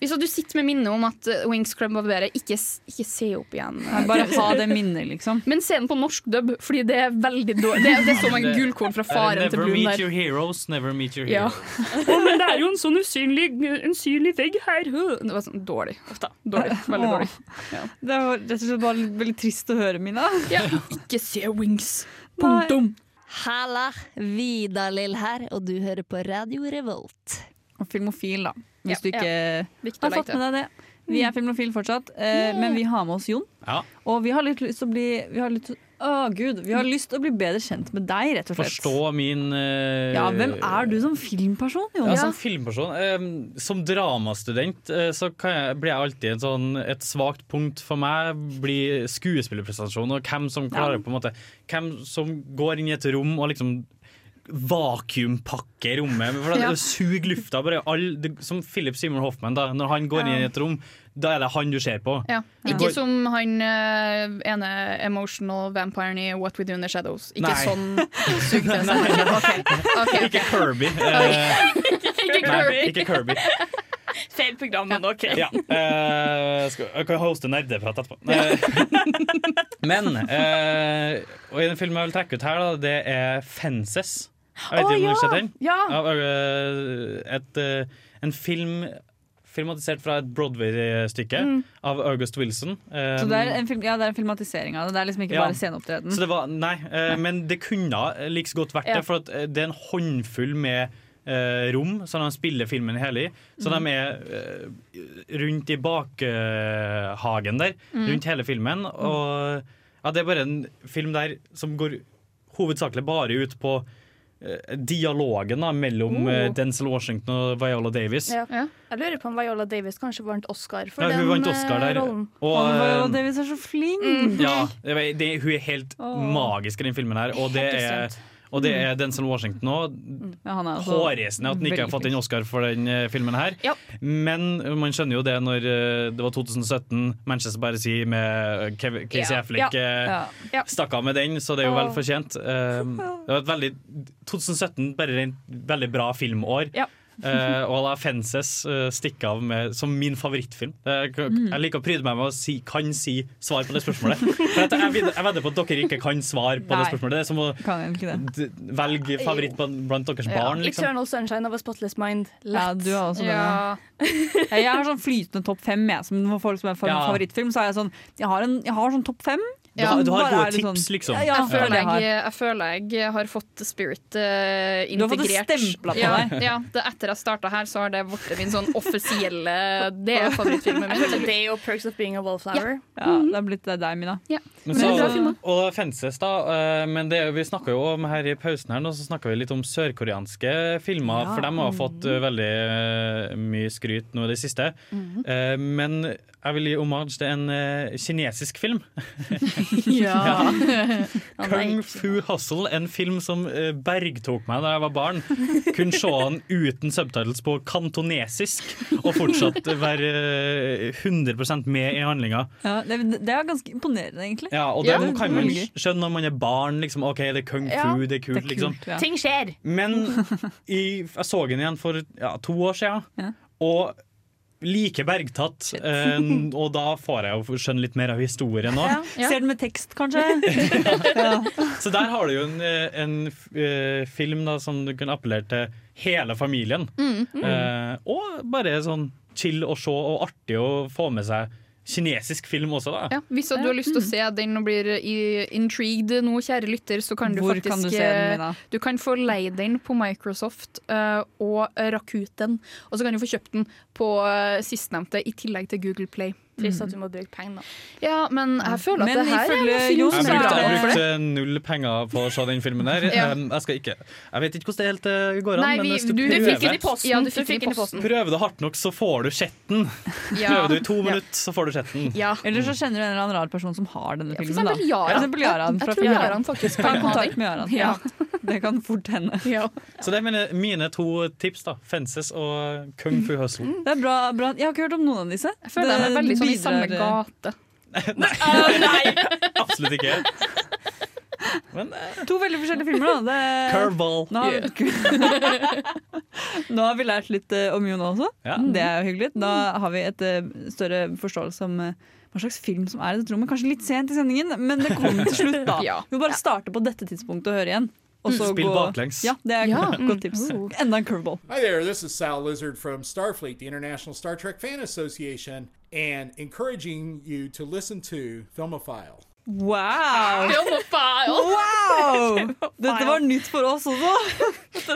[SPEAKER 6] Hvis du sitter med minnet om at eh, Wings Club of Bere, ikke, s- ikke se opp igjen.
[SPEAKER 4] Nei, bare ha det minnet, liksom.
[SPEAKER 6] Men se den på norsk dub, fordi det er veldig dårlig. Det, det er så mange gullkorn fra
[SPEAKER 13] Er
[SPEAKER 6] faren
[SPEAKER 13] det
[SPEAKER 6] til
[SPEAKER 13] Never
[SPEAKER 6] Brun
[SPEAKER 13] meet
[SPEAKER 6] der.
[SPEAKER 13] your heroes, never meet your
[SPEAKER 6] Ja.
[SPEAKER 13] heroes.
[SPEAKER 6] men det er jo en sånn usynlig, vegg her. Det var sånn dårlig. Uff da. Dårlig. Veldig
[SPEAKER 4] Åh.
[SPEAKER 6] dårlig. Ja.
[SPEAKER 4] Det var rett og slett bare litt- veldig trist å høre, Mina.
[SPEAKER 6] Ja, ikke se Wings.
[SPEAKER 4] Punktum.
[SPEAKER 21] Halla, Vidar-Lill her, og du hører på Radio Revolt.
[SPEAKER 4] Og filmofil, da. Hvis
[SPEAKER 21] Ja.
[SPEAKER 4] du ikke
[SPEAKER 21] Ja. Viktig å
[SPEAKER 4] har fått
[SPEAKER 21] legge til.
[SPEAKER 4] med deg det. Vi er filmofil fortsatt, eh,
[SPEAKER 21] Yeah.
[SPEAKER 4] men vi har med oss Jon.
[SPEAKER 13] Ja.
[SPEAKER 4] Og vi har litt lyst til å bli vi har litt, Å, gud. Vi har lyst til å bli bedre kjent med deg, rett og slett.
[SPEAKER 13] Forstå min eh,
[SPEAKER 4] Ja, hvem er du som filmperson, Jon?
[SPEAKER 13] Ja, som filmperson eh, Som dramastudent eh, så kan jeg, blir jeg alltid en sånn, et svakt punkt for meg. Blir skuespillerprestasjon og hvem som klarer på en måte Hvem som går inn i et rom og liksom vakuumpakke rommet. For det
[SPEAKER 22] Ja.
[SPEAKER 13] det suger lufta. Bare all, det, som Philip Seymour Hoffman, da, når han går
[SPEAKER 6] Ja.
[SPEAKER 13] inn i et rom, da er det han du ser på.
[SPEAKER 6] Ja.
[SPEAKER 13] Det
[SPEAKER 6] Ikke
[SPEAKER 13] går-
[SPEAKER 6] som han eh, ene emotional vampiren i What We Do in the Shadows. Ikke
[SPEAKER 13] Nei.
[SPEAKER 6] sånn sug til seg.
[SPEAKER 13] Ikke Kirby. Eh,
[SPEAKER 3] Ikke
[SPEAKER 13] nei, ikke Kirby.
[SPEAKER 3] Feil program, men OK.
[SPEAKER 13] Ja, eh, skal, jeg kan hoste nerdeprat etterpå. Eh, men eh, Og en film jeg vil trekke ut her, da, det er 'Fences'. Jeg vet
[SPEAKER 23] Å,
[SPEAKER 13] ikke om
[SPEAKER 23] ja!
[SPEAKER 13] du har sett den?
[SPEAKER 23] Ja.
[SPEAKER 13] Av, eh, et, eh, en film filmatisert fra et Broadway-stykke
[SPEAKER 4] Mm.
[SPEAKER 13] av August Wilson. Eh,
[SPEAKER 4] Så det er, en film, ja, det er en filmatisering av det. Det er liksom ikke
[SPEAKER 13] ja.
[SPEAKER 4] bare sceneopptreden.
[SPEAKER 13] Så det var, nei, eh, men det kunne eh, like så godt vært
[SPEAKER 4] Ja.
[SPEAKER 13] det, for at eh, det er en håndfull med eh, rom som de spiller filmen hele i. Så
[SPEAKER 22] Mm.
[SPEAKER 13] de er eh, rundt i bakhagen der,
[SPEAKER 22] Mm.
[SPEAKER 13] rundt hele filmen. Og ja, det er bare en film der som går hovedsakelig bare ut på eh, dialogen da, mellom
[SPEAKER 3] Oh.
[SPEAKER 13] eh, Denzel Washington og Viola Davis.
[SPEAKER 3] Ja. Jeg lurer på om Viola Davis kanskje vant Oscar for
[SPEAKER 13] Ja, hun
[SPEAKER 3] den
[SPEAKER 13] vant Oscar
[SPEAKER 3] eh,
[SPEAKER 13] der.
[SPEAKER 3] rollen.
[SPEAKER 13] Og, Å, Viola eh,
[SPEAKER 4] Davis er så flink!
[SPEAKER 13] Ja, det, var- det, hun er helt
[SPEAKER 4] Åh.
[SPEAKER 13] magisk i den filmen her, og det er, og det er Denzel Washington òg.
[SPEAKER 4] Ja, han er altså
[SPEAKER 13] Hårreisende at han ikke har
[SPEAKER 4] veldig
[SPEAKER 13] fått en Oscar for den eh, filmen her.
[SPEAKER 4] Ja.
[SPEAKER 13] Men man skjønner jo det når eh, det var 2017, Manchester by the Sea med eh, Kev Casey
[SPEAKER 22] Ja.
[SPEAKER 13] Affleck
[SPEAKER 22] Ja.
[SPEAKER 13] eh,
[SPEAKER 22] Ja.
[SPEAKER 6] Ja.
[SPEAKER 13] stakk av med den, så det er jo vel
[SPEAKER 22] Åh.
[SPEAKER 13] fortjent. Um, det var et veldig 2017 bare en veldig bra filmår.
[SPEAKER 22] Ja.
[SPEAKER 13] Eh, og La Fences eh, stikker av med, som min favorittfilm. Eh, k-
[SPEAKER 22] Mm.
[SPEAKER 13] Jeg liker å pryde meg med å si, kan si svar på det spørsmålet. For at jeg, ved- jeg vedder på at dere ikke kan svar på det
[SPEAKER 3] Nei.
[SPEAKER 13] spørsmålet. Det er som å
[SPEAKER 4] Kan egentlig det.
[SPEAKER 13] d- velge favoritt blant blant deres barn. Liksom.
[SPEAKER 3] Eternal Sunshine of a Spotless Mind.
[SPEAKER 4] Ja, du har også det. Ja, jeg har sånn flytende topp fem. Jeg, som for folk som er fa-
[SPEAKER 13] Ja.
[SPEAKER 4] favorittfilm, så har jeg sånn Jeg har, en, jeg har sånn topp fem.
[SPEAKER 13] Du har-
[SPEAKER 4] som
[SPEAKER 13] du har
[SPEAKER 4] bare
[SPEAKER 13] gode
[SPEAKER 4] er litt
[SPEAKER 13] tips, liksom.
[SPEAKER 4] Ja,
[SPEAKER 6] jeg, føler
[SPEAKER 4] det
[SPEAKER 6] jeg,
[SPEAKER 4] har.
[SPEAKER 6] jeg føler jeg har fått spirit eh,
[SPEAKER 4] Du har fått det
[SPEAKER 6] integrert.
[SPEAKER 4] stemplet på
[SPEAKER 6] ja,
[SPEAKER 4] deg.
[SPEAKER 6] Ja, det, etter jeg starta her, så har det blitt min sånn offisielle Det er favorittfilmen min.
[SPEAKER 3] Jeg føler det og Perks of Being a Wallflower.
[SPEAKER 4] Ja, det har blitt deg, Mina.
[SPEAKER 13] Men så, og La Fences, da. eh, Men det, er jo- vi snakka jo om her i pausen her, nå, så snakket vi litt om sørkoreanske filmer.
[SPEAKER 22] Ja.
[SPEAKER 13] For de har fått eh, veldig eh, mye skryt nå i det siste.
[SPEAKER 22] Mhm.
[SPEAKER 13] Eh, Men jeg vil gi omage til en eh, kinesisk film.
[SPEAKER 22] Ja.
[SPEAKER 13] Kung Fu Hustle, en film som eh, bergtok meg da jeg var barn. Kunne se den uten subtitles på kantonesisk, og fortsatt være eh, 100 med i handlinga.
[SPEAKER 4] Ja, det, det er ganske imponerende, egentlig.
[SPEAKER 13] Ja, og det kan man skjønne når man er barn. Liksom, OK, det er kung fu,
[SPEAKER 4] Mm. Ja,
[SPEAKER 13] det er kult, liksom.
[SPEAKER 3] Ting skjer!
[SPEAKER 13] Men i, jeg så den igjen for ja, to år siden, og like bergtatt. Eh, og da får jeg jo skjønne litt mer av historien nå.
[SPEAKER 4] Ser den med tekst, kanskje?
[SPEAKER 13] Så der har du jo en, eh, en eh, film da, som du kunne appellere til hele familien.
[SPEAKER 4] Mm, mm.
[SPEAKER 13] Eh, og bare sånn chill å se, og artig å få med seg kinesisk film også, da.
[SPEAKER 6] Ja, hvis at du har lyst
[SPEAKER 4] Mm.
[SPEAKER 6] til å se den og blir i- intrigued nå, kjære lytter, så kan du
[SPEAKER 4] Hvor
[SPEAKER 6] faktisk
[SPEAKER 4] kan du se den, Mina?
[SPEAKER 6] eh, Du kan få leid den på Microsoft eh, og Rakuten, og så kan du få kjøpt den på eh, sistnevnte i tillegg til Google Play.
[SPEAKER 3] Trist at du må bruke penger, da.
[SPEAKER 6] Ja, men jeg føler at
[SPEAKER 3] Men
[SPEAKER 6] det her er
[SPEAKER 3] ifølge
[SPEAKER 6] en film
[SPEAKER 3] Jon
[SPEAKER 6] som
[SPEAKER 13] Jeg
[SPEAKER 6] er bra
[SPEAKER 13] brukte, jeg
[SPEAKER 6] for det.
[SPEAKER 13] brukte null penger på å se den filmen der.
[SPEAKER 6] Ja.
[SPEAKER 13] Em, Jeg skal ikke Jeg vet ikke hvordan det helt eh, går an,
[SPEAKER 6] Nei, vi,
[SPEAKER 13] men hvis du,
[SPEAKER 6] du,
[SPEAKER 13] prøver
[SPEAKER 6] fikk den i posten. Ja, du fikk den i posten.
[SPEAKER 13] Prøver du hardt nok, så får du sett den.
[SPEAKER 6] Ja.
[SPEAKER 13] Prøver du i to
[SPEAKER 6] Ja.
[SPEAKER 13] minutter, så får du sett den.
[SPEAKER 4] Eller så kjenner du en eller annen rar person som har denne
[SPEAKER 6] for
[SPEAKER 4] filmen. da.
[SPEAKER 6] eksempel Yaran. Jeg-
[SPEAKER 4] For eksempel Yaran
[SPEAKER 6] jeg
[SPEAKER 4] fra
[SPEAKER 6] tror
[SPEAKER 4] Fjæra.
[SPEAKER 6] Yaran faktisk
[SPEAKER 4] Ta
[SPEAKER 6] kan ha
[SPEAKER 4] kontakt
[SPEAKER 6] den.
[SPEAKER 4] med Yaran.
[SPEAKER 6] Ja.
[SPEAKER 4] Ja. Det kan fort hende.
[SPEAKER 13] Så det er mine, mine to tips, da. Fences og Kung Fu Hustle.
[SPEAKER 4] Det er bra, bra. Jeg har ikke hørt om noen av disse.
[SPEAKER 6] Jeg føler de er sånn veldig sånn i samme gate.
[SPEAKER 13] Absolutt ikke. Men,
[SPEAKER 4] To veldig forskjellige filmer, da.
[SPEAKER 6] Eh,
[SPEAKER 4] Det-
[SPEAKER 13] Curveball.
[SPEAKER 4] Nå har, Nå har vi lært litt eh, om Jon også.
[SPEAKER 13] Ja.
[SPEAKER 4] Det er jo hyggelig. Da har vi et eh, større forståelse om eh, hva slags film som er i dette rommet. Kanskje litt sent i sendingen, men det kommer til slutt, da.
[SPEAKER 6] Ja.
[SPEAKER 4] Vi må bare starte på dette tidspunktet og høre igjen. og så
[SPEAKER 13] Spill
[SPEAKER 4] gå-
[SPEAKER 13] baklengs.
[SPEAKER 4] Mm. Ja, Mm. Oh. det er et
[SPEAKER 13] Ja.
[SPEAKER 4] godt tips. Enda en curveball.
[SPEAKER 1] Hi there, this is Sal Lizard from Starfleet, the International Star Trek Fan Association, and encouraging you to listen to Filmophile.
[SPEAKER 4] Wow!
[SPEAKER 6] Filmophile.
[SPEAKER 4] Wow! Dette var nytt for oss også.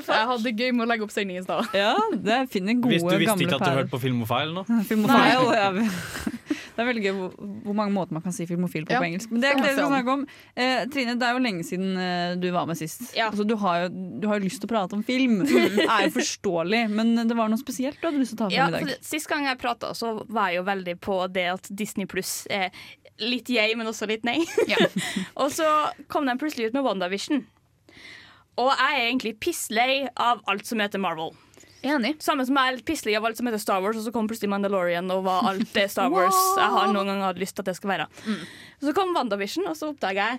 [SPEAKER 6] Jeg hadde gøy med å legge opp sending i stad.
[SPEAKER 4] Ja, det finner gode,
[SPEAKER 13] Hvis du visste
[SPEAKER 4] gamle
[SPEAKER 13] ikke at du
[SPEAKER 4] perler.
[SPEAKER 13] hørte på Filmofile nå?
[SPEAKER 4] Filmofil. Ja. Det er veldig gøy hvor, hvor mange måter man kan si filmofil på
[SPEAKER 6] Ja.
[SPEAKER 4] på engelsk. Men det er ikke det vi skal
[SPEAKER 6] Ja.
[SPEAKER 4] snakke om. Eh, Trine, det er jo lenge siden eh, du var med sist. Altså, du har jo du har jo lyst til å prate om film. Det er jo forståelig, men det var noe spesielt du hadde lyst til å ta
[SPEAKER 3] Ja,
[SPEAKER 4] frem i
[SPEAKER 3] for
[SPEAKER 4] dag.
[SPEAKER 3] det- Sist gang jeg prata, så var jeg jo veldig på det at Disney pluss er litt jeg, men også litt nei. og så kom de plutselig ut med WandaVision. Og jeg er egentlig pisslei av alt som heter Marvel.
[SPEAKER 6] Enig.
[SPEAKER 3] Samme som jeg er litt pisslei av alt som heter Star Wars, og så kom plutselig Mandalorian og var alt det Star Wars jeg har noen gang hatt lyst til at det skal være.
[SPEAKER 4] Mm.
[SPEAKER 3] Så kom WandaVision, og så oppdaga jeg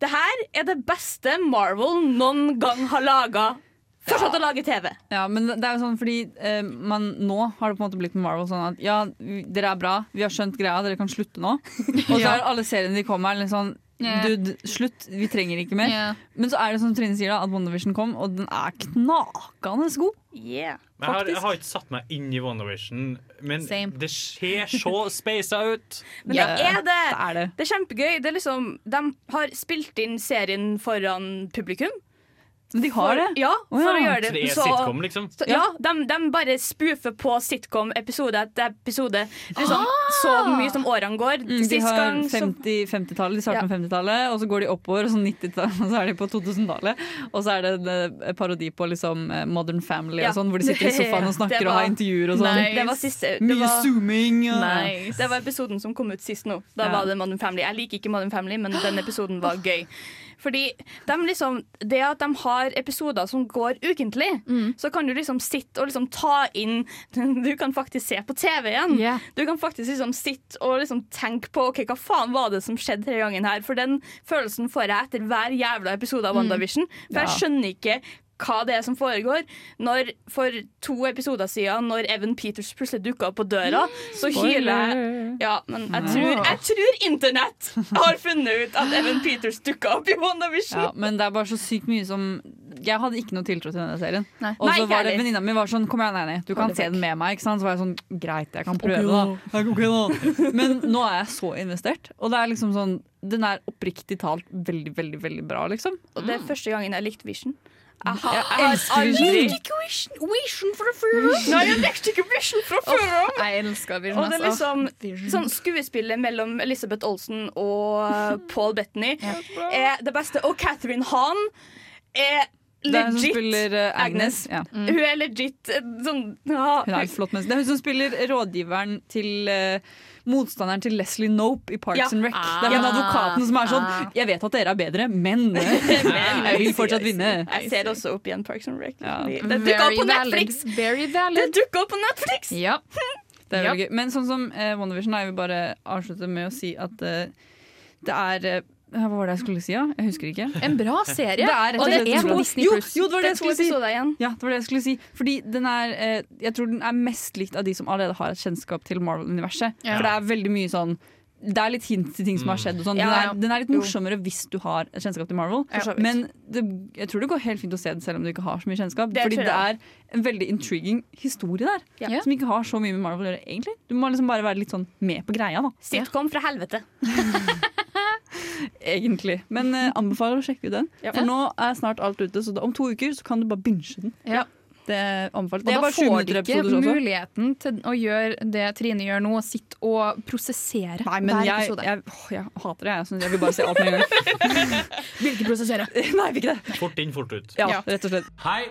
[SPEAKER 3] det her er det beste Marvel noen gang har laga. Fortsatt å lage TV.
[SPEAKER 4] Ja, men det er jo sånn fordi eh, man, Nå har det på en måte blitt med Marvel sånn at ja, vi- dere er bra, vi har skjønt greia, dere kan slutte nå. Og så
[SPEAKER 6] Ja.
[SPEAKER 4] er alle seriene de kommer med, litt sånn
[SPEAKER 6] Ja.
[SPEAKER 4] Dude, slutt, vi trenger ikke mer.
[SPEAKER 6] Ja.
[SPEAKER 4] Men så er det som Trine sier, da at WandaVision kom, og den er knakende god.
[SPEAKER 13] Men jeg, har, jeg
[SPEAKER 4] Faktisk.
[SPEAKER 13] har ikke satt meg inn i WandaVision, men
[SPEAKER 3] Same.
[SPEAKER 13] det ser så spasa ut.
[SPEAKER 3] Men det er det. Det er, kjempegøy. Det er liksom, de har spilt inn serien foran publikum.
[SPEAKER 4] De har
[SPEAKER 3] for,
[SPEAKER 4] det?
[SPEAKER 3] Ja,
[SPEAKER 4] Å, ja.
[SPEAKER 3] for å gjøre det.
[SPEAKER 13] Så det er sitcom, liksom?
[SPEAKER 3] Så, ja, de, de bare spoofer på sitcom episode etter episode. Liksom, Så mye som årene går.
[SPEAKER 4] Ah! Mm, de
[SPEAKER 3] Sist
[SPEAKER 4] har
[SPEAKER 3] gang så
[SPEAKER 4] 50, 50-tallet, de starter
[SPEAKER 3] Ja.
[SPEAKER 4] med 50-tallet, og så går de oppover, og så 90-tallet, og så er de på 2000-tallet. Og så er det en eh, parodi på liksom eh, Modern Family
[SPEAKER 3] Ja.
[SPEAKER 4] og sånn, hvor de sitter i sofaen og snakker
[SPEAKER 3] Det
[SPEAKER 4] og
[SPEAKER 3] var-
[SPEAKER 4] har intervjuer og sånn.
[SPEAKER 3] Nice. Det var siste- det
[SPEAKER 4] Mye
[SPEAKER 3] var-
[SPEAKER 4] zooming. Og...
[SPEAKER 3] Nice. Det var episoden som kom ut sist nå. Da
[SPEAKER 4] Ja.
[SPEAKER 3] var det Modern Family. Jeg liker ikke Modern Family, men den episoden var gøy. Fordi de liksom, Det at de har episoder som går ukentlig, så kan du liksom sitte og liksom ta inn Du kan faktisk se på TV igjen.
[SPEAKER 6] Yeah.
[SPEAKER 3] Du kan faktisk liksom sitte og liksom tenke på Ok, hva faen var det som skjedde denne gangen. her For den følelsen får jeg etter hver jævla episode av
[SPEAKER 6] Mm.
[SPEAKER 3] WandaVision. For
[SPEAKER 6] Ja.
[SPEAKER 3] jeg skjønner ikke hva det er som foregår. Når For to episoder siden, når Evan Peters plutselig dukka opp på døra, så
[SPEAKER 6] Spoiler.
[SPEAKER 3] hyler jeg. Ja, men jeg
[SPEAKER 4] Nei.
[SPEAKER 3] tror, jeg tror internett har funnet ut at Evan Peters dukka opp i WandaVision.
[SPEAKER 4] Ja, men det er bare så sykt mye som Jeg hadde ikke noe tiltro til denne serien.
[SPEAKER 3] Nei.
[SPEAKER 4] Og
[SPEAKER 3] Nei,
[SPEAKER 4] så
[SPEAKER 3] ikke
[SPEAKER 4] var det
[SPEAKER 3] heller.
[SPEAKER 4] venninna mi var sånn Kom igjen, nei, nei, du
[SPEAKER 3] Hold
[SPEAKER 4] kan
[SPEAKER 3] det
[SPEAKER 4] se
[SPEAKER 3] vekk.
[SPEAKER 4] den med meg. Ikke sant? Så var jeg sånn Greit, jeg kan
[SPEAKER 3] Ok,
[SPEAKER 4] prøve,
[SPEAKER 3] da.
[SPEAKER 4] da. Men nå er jeg så investert. Og det er liksom sånn Den er oppriktig talt veldig, veldig, veldig bra, liksom.
[SPEAKER 3] Og det er første gangen jeg likte Vision. Jeg
[SPEAKER 4] Jeg
[SPEAKER 3] jeg
[SPEAKER 4] elsker
[SPEAKER 3] aldri-
[SPEAKER 4] Vision.
[SPEAKER 3] Vision fra før av. Nei, jeg likte ikke Vision fra før av.
[SPEAKER 6] Jeg elsker Vision.
[SPEAKER 3] Og det er
[SPEAKER 6] ass. Åh,
[SPEAKER 3] liksom
[SPEAKER 6] Vision.
[SPEAKER 3] sånn Skuespillet mellom Elizabeth Olsen og eh, Paul Bettany er det beste. Og Catherine Hahn er
[SPEAKER 4] Det er hun som
[SPEAKER 3] legit
[SPEAKER 4] spiller, eh, Agnes, ja. Mm.
[SPEAKER 3] Hun er legit eh, sånn ja,
[SPEAKER 4] Hun er et flott menneske. Det er hun som spiller rådgiveren til eh, Motstanderen til Leslie Nope i Parks
[SPEAKER 3] Ja. Ah.
[SPEAKER 4] and Rec. Det er
[SPEAKER 3] Ja.
[SPEAKER 4] hun advokaten som er sånn Jeg vet at dere er bedre, men jeg vil fortsatt vinne.
[SPEAKER 3] Jeg ser også opp igjen Parks and Rec. Det
[SPEAKER 6] Mm. Very
[SPEAKER 3] dukka opp på
[SPEAKER 6] valid.
[SPEAKER 3] Netflix!
[SPEAKER 6] Very valid.
[SPEAKER 3] Det dukka opp på Netflix!
[SPEAKER 6] Ja.
[SPEAKER 4] Det er
[SPEAKER 3] Ja.
[SPEAKER 4] veldig gøy. Men sånn som eh, WandaVision, da, jeg vil bare avslutte med å si at eh, det er eh, hva var det jeg skulle si? Ja? Jeg husker ikke.
[SPEAKER 6] En bra serie.
[SPEAKER 4] Det er rett
[SPEAKER 6] Og det
[SPEAKER 4] slett
[SPEAKER 6] er
[SPEAKER 4] en
[SPEAKER 6] på
[SPEAKER 4] bra-
[SPEAKER 6] Disney+.
[SPEAKER 4] Jo, jo, det var
[SPEAKER 6] Det
[SPEAKER 4] det,
[SPEAKER 6] er
[SPEAKER 4] jeg
[SPEAKER 6] to
[SPEAKER 4] skulle si.
[SPEAKER 6] episoder igjen.
[SPEAKER 4] Ja, det var det jeg skulle si. Fordi den er, eh, jeg tror den er mest likt av de som allerede har et kjennskap til Marvel-universet.
[SPEAKER 6] Ja.
[SPEAKER 4] For det er veldig mye sånn det er litt hint til ting som har skjedd. Og sånn.
[SPEAKER 6] Ja,
[SPEAKER 4] den,
[SPEAKER 6] ja.
[SPEAKER 4] er, den er litt
[SPEAKER 6] Jo.
[SPEAKER 4] morsommere hvis du har et kjennskap til Marvel.
[SPEAKER 6] For så vidt.
[SPEAKER 4] Men det, jeg tror det går helt fint å se den selv om du ikke har så mye kjennskap.
[SPEAKER 6] Det
[SPEAKER 4] fordi
[SPEAKER 6] tror jeg.
[SPEAKER 4] det er en veldig intriguing historie der,
[SPEAKER 3] Ja.
[SPEAKER 4] som ikke har så mye med Marvel å gjøre, egentlig. Du må liksom bare være litt sånn med på greia, da.
[SPEAKER 3] Sitcom fra helvete.
[SPEAKER 4] Egentlig. Men eh, anbefaler å sjekke ut den.
[SPEAKER 3] Ja.
[SPEAKER 4] For nå er snart alt ute, så da, om to uker så kan du bare binge den.
[SPEAKER 6] Ja.
[SPEAKER 4] Det anbefales.
[SPEAKER 6] Og
[SPEAKER 4] Det er
[SPEAKER 6] da
[SPEAKER 4] bare 20
[SPEAKER 6] får
[SPEAKER 4] minutter
[SPEAKER 6] de ikke
[SPEAKER 4] episoder også.
[SPEAKER 6] muligheten til å gjøre det Trine gjør nå, sitte og prosessere
[SPEAKER 4] Nei, men
[SPEAKER 6] hver
[SPEAKER 4] jeg,
[SPEAKER 6] episode.
[SPEAKER 4] jeg, åh, jeg hater det. Jeg, synes jeg vil bare se alt med en gang.
[SPEAKER 6] Vil ikke prosessere.
[SPEAKER 4] Nei, vil ikke det.
[SPEAKER 5] Fort inn, fort ut.
[SPEAKER 4] Ja, rett og slett.
[SPEAKER 5] Hei,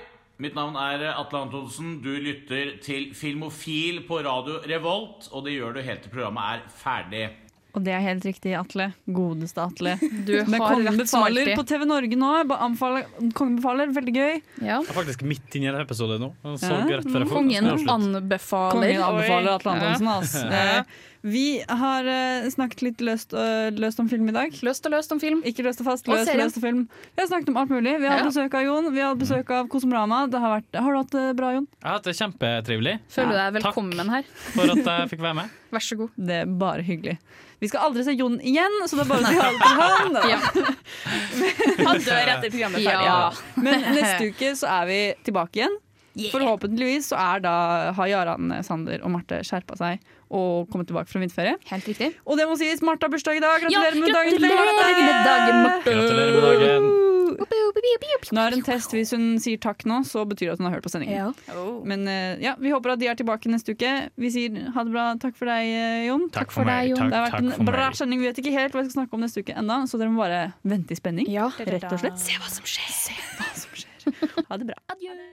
[SPEAKER 5] mitt navn er Atle Antonsen. Du lytter til Filmofil på Radio Revolt, og det gjør du helt til programmet er ferdig.
[SPEAKER 4] Og det er helt riktig, Atle. Godeste Atle.
[SPEAKER 5] Du
[SPEAKER 4] Men
[SPEAKER 5] har
[SPEAKER 4] Kongen
[SPEAKER 5] rett som
[SPEAKER 4] befaler
[SPEAKER 5] alltid.
[SPEAKER 4] på TV Norge nå. Bare anbefaler- Kongen befaler, veldig gøy.
[SPEAKER 13] Jeg er faktisk midt inni en episode nå. og Så
[SPEAKER 4] Ja.
[SPEAKER 13] rett før jeg får-
[SPEAKER 6] Kongen
[SPEAKER 13] avslutt.
[SPEAKER 6] anbefaler.
[SPEAKER 4] Kongen anbefaler
[SPEAKER 6] Oi.
[SPEAKER 4] Atle Antonsen. ass.
[SPEAKER 13] Ja.
[SPEAKER 4] Eh, Vi har eh, snakket litt løst, og- løst om film i dag.
[SPEAKER 6] Løst og løst om film.
[SPEAKER 4] Ikke løst og fast,
[SPEAKER 6] Og
[SPEAKER 4] løst og
[SPEAKER 6] serien.
[SPEAKER 4] løst om film. Vi har snakket om alt mulig. Vi har
[SPEAKER 6] Ja.
[SPEAKER 4] hatt besøk av Jon, vi har hatt besøk av Kosmorama. Det har, vært, har du hatt det bra, Jon?
[SPEAKER 13] Ja, det er kjempetrivelig.
[SPEAKER 6] Føler du
[SPEAKER 13] Ja.
[SPEAKER 6] deg velkommen her?
[SPEAKER 13] Takk for at jeg fikk være med.
[SPEAKER 6] Vær så god.
[SPEAKER 4] Det er bare hyggelig. Vi skal aldri se Jon igjen, så det er bare å si ha det til han. da.
[SPEAKER 3] Han dør etter programmet er ferdig.
[SPEAKER 4] Ja. Men neste uke så er vi tilbake igjen. Forhåpentligvis så er da, har Jaran eh, Sander og Marte skjerpa seg og kommet tilbake fra vinterferie.
[SPEAKER 6] Helt riktig.
[SPEAKER 4] Og det må sies, Marte har bursdag i dag. Gratulerer med dagen! til
[SPEAKER 6] gratulerer med dagen, Marte.
[SPEAKER 13] Gratulerer med dagen.
[SPEAKER 4] Eh, Hun har en test. Hvis hun sier takk nå, så betyr det at hun har hørt på sendingen. Men eh, ja, vi håper at de er tilbake neste uke. Vi sier ha det bra. Takk for deg, eh, Jon.
[SPEAKER 13] Takk for for meg. deg, Jon. Takk,
[SPEAKER 4] det har vært
[SPEAKER 13] takk for
[SPEAKER 4] en bra
[SPEAKER 13] meg.
[SPEAKER 4] sending. Vi vet ikke helt hva vi skal snakke om neste uke ennå, så dere må bare vente i spenning. Rett og slett.
[SPEAKER 3] Se hva som skjer.
[SPEAKER 4] Ha det bra.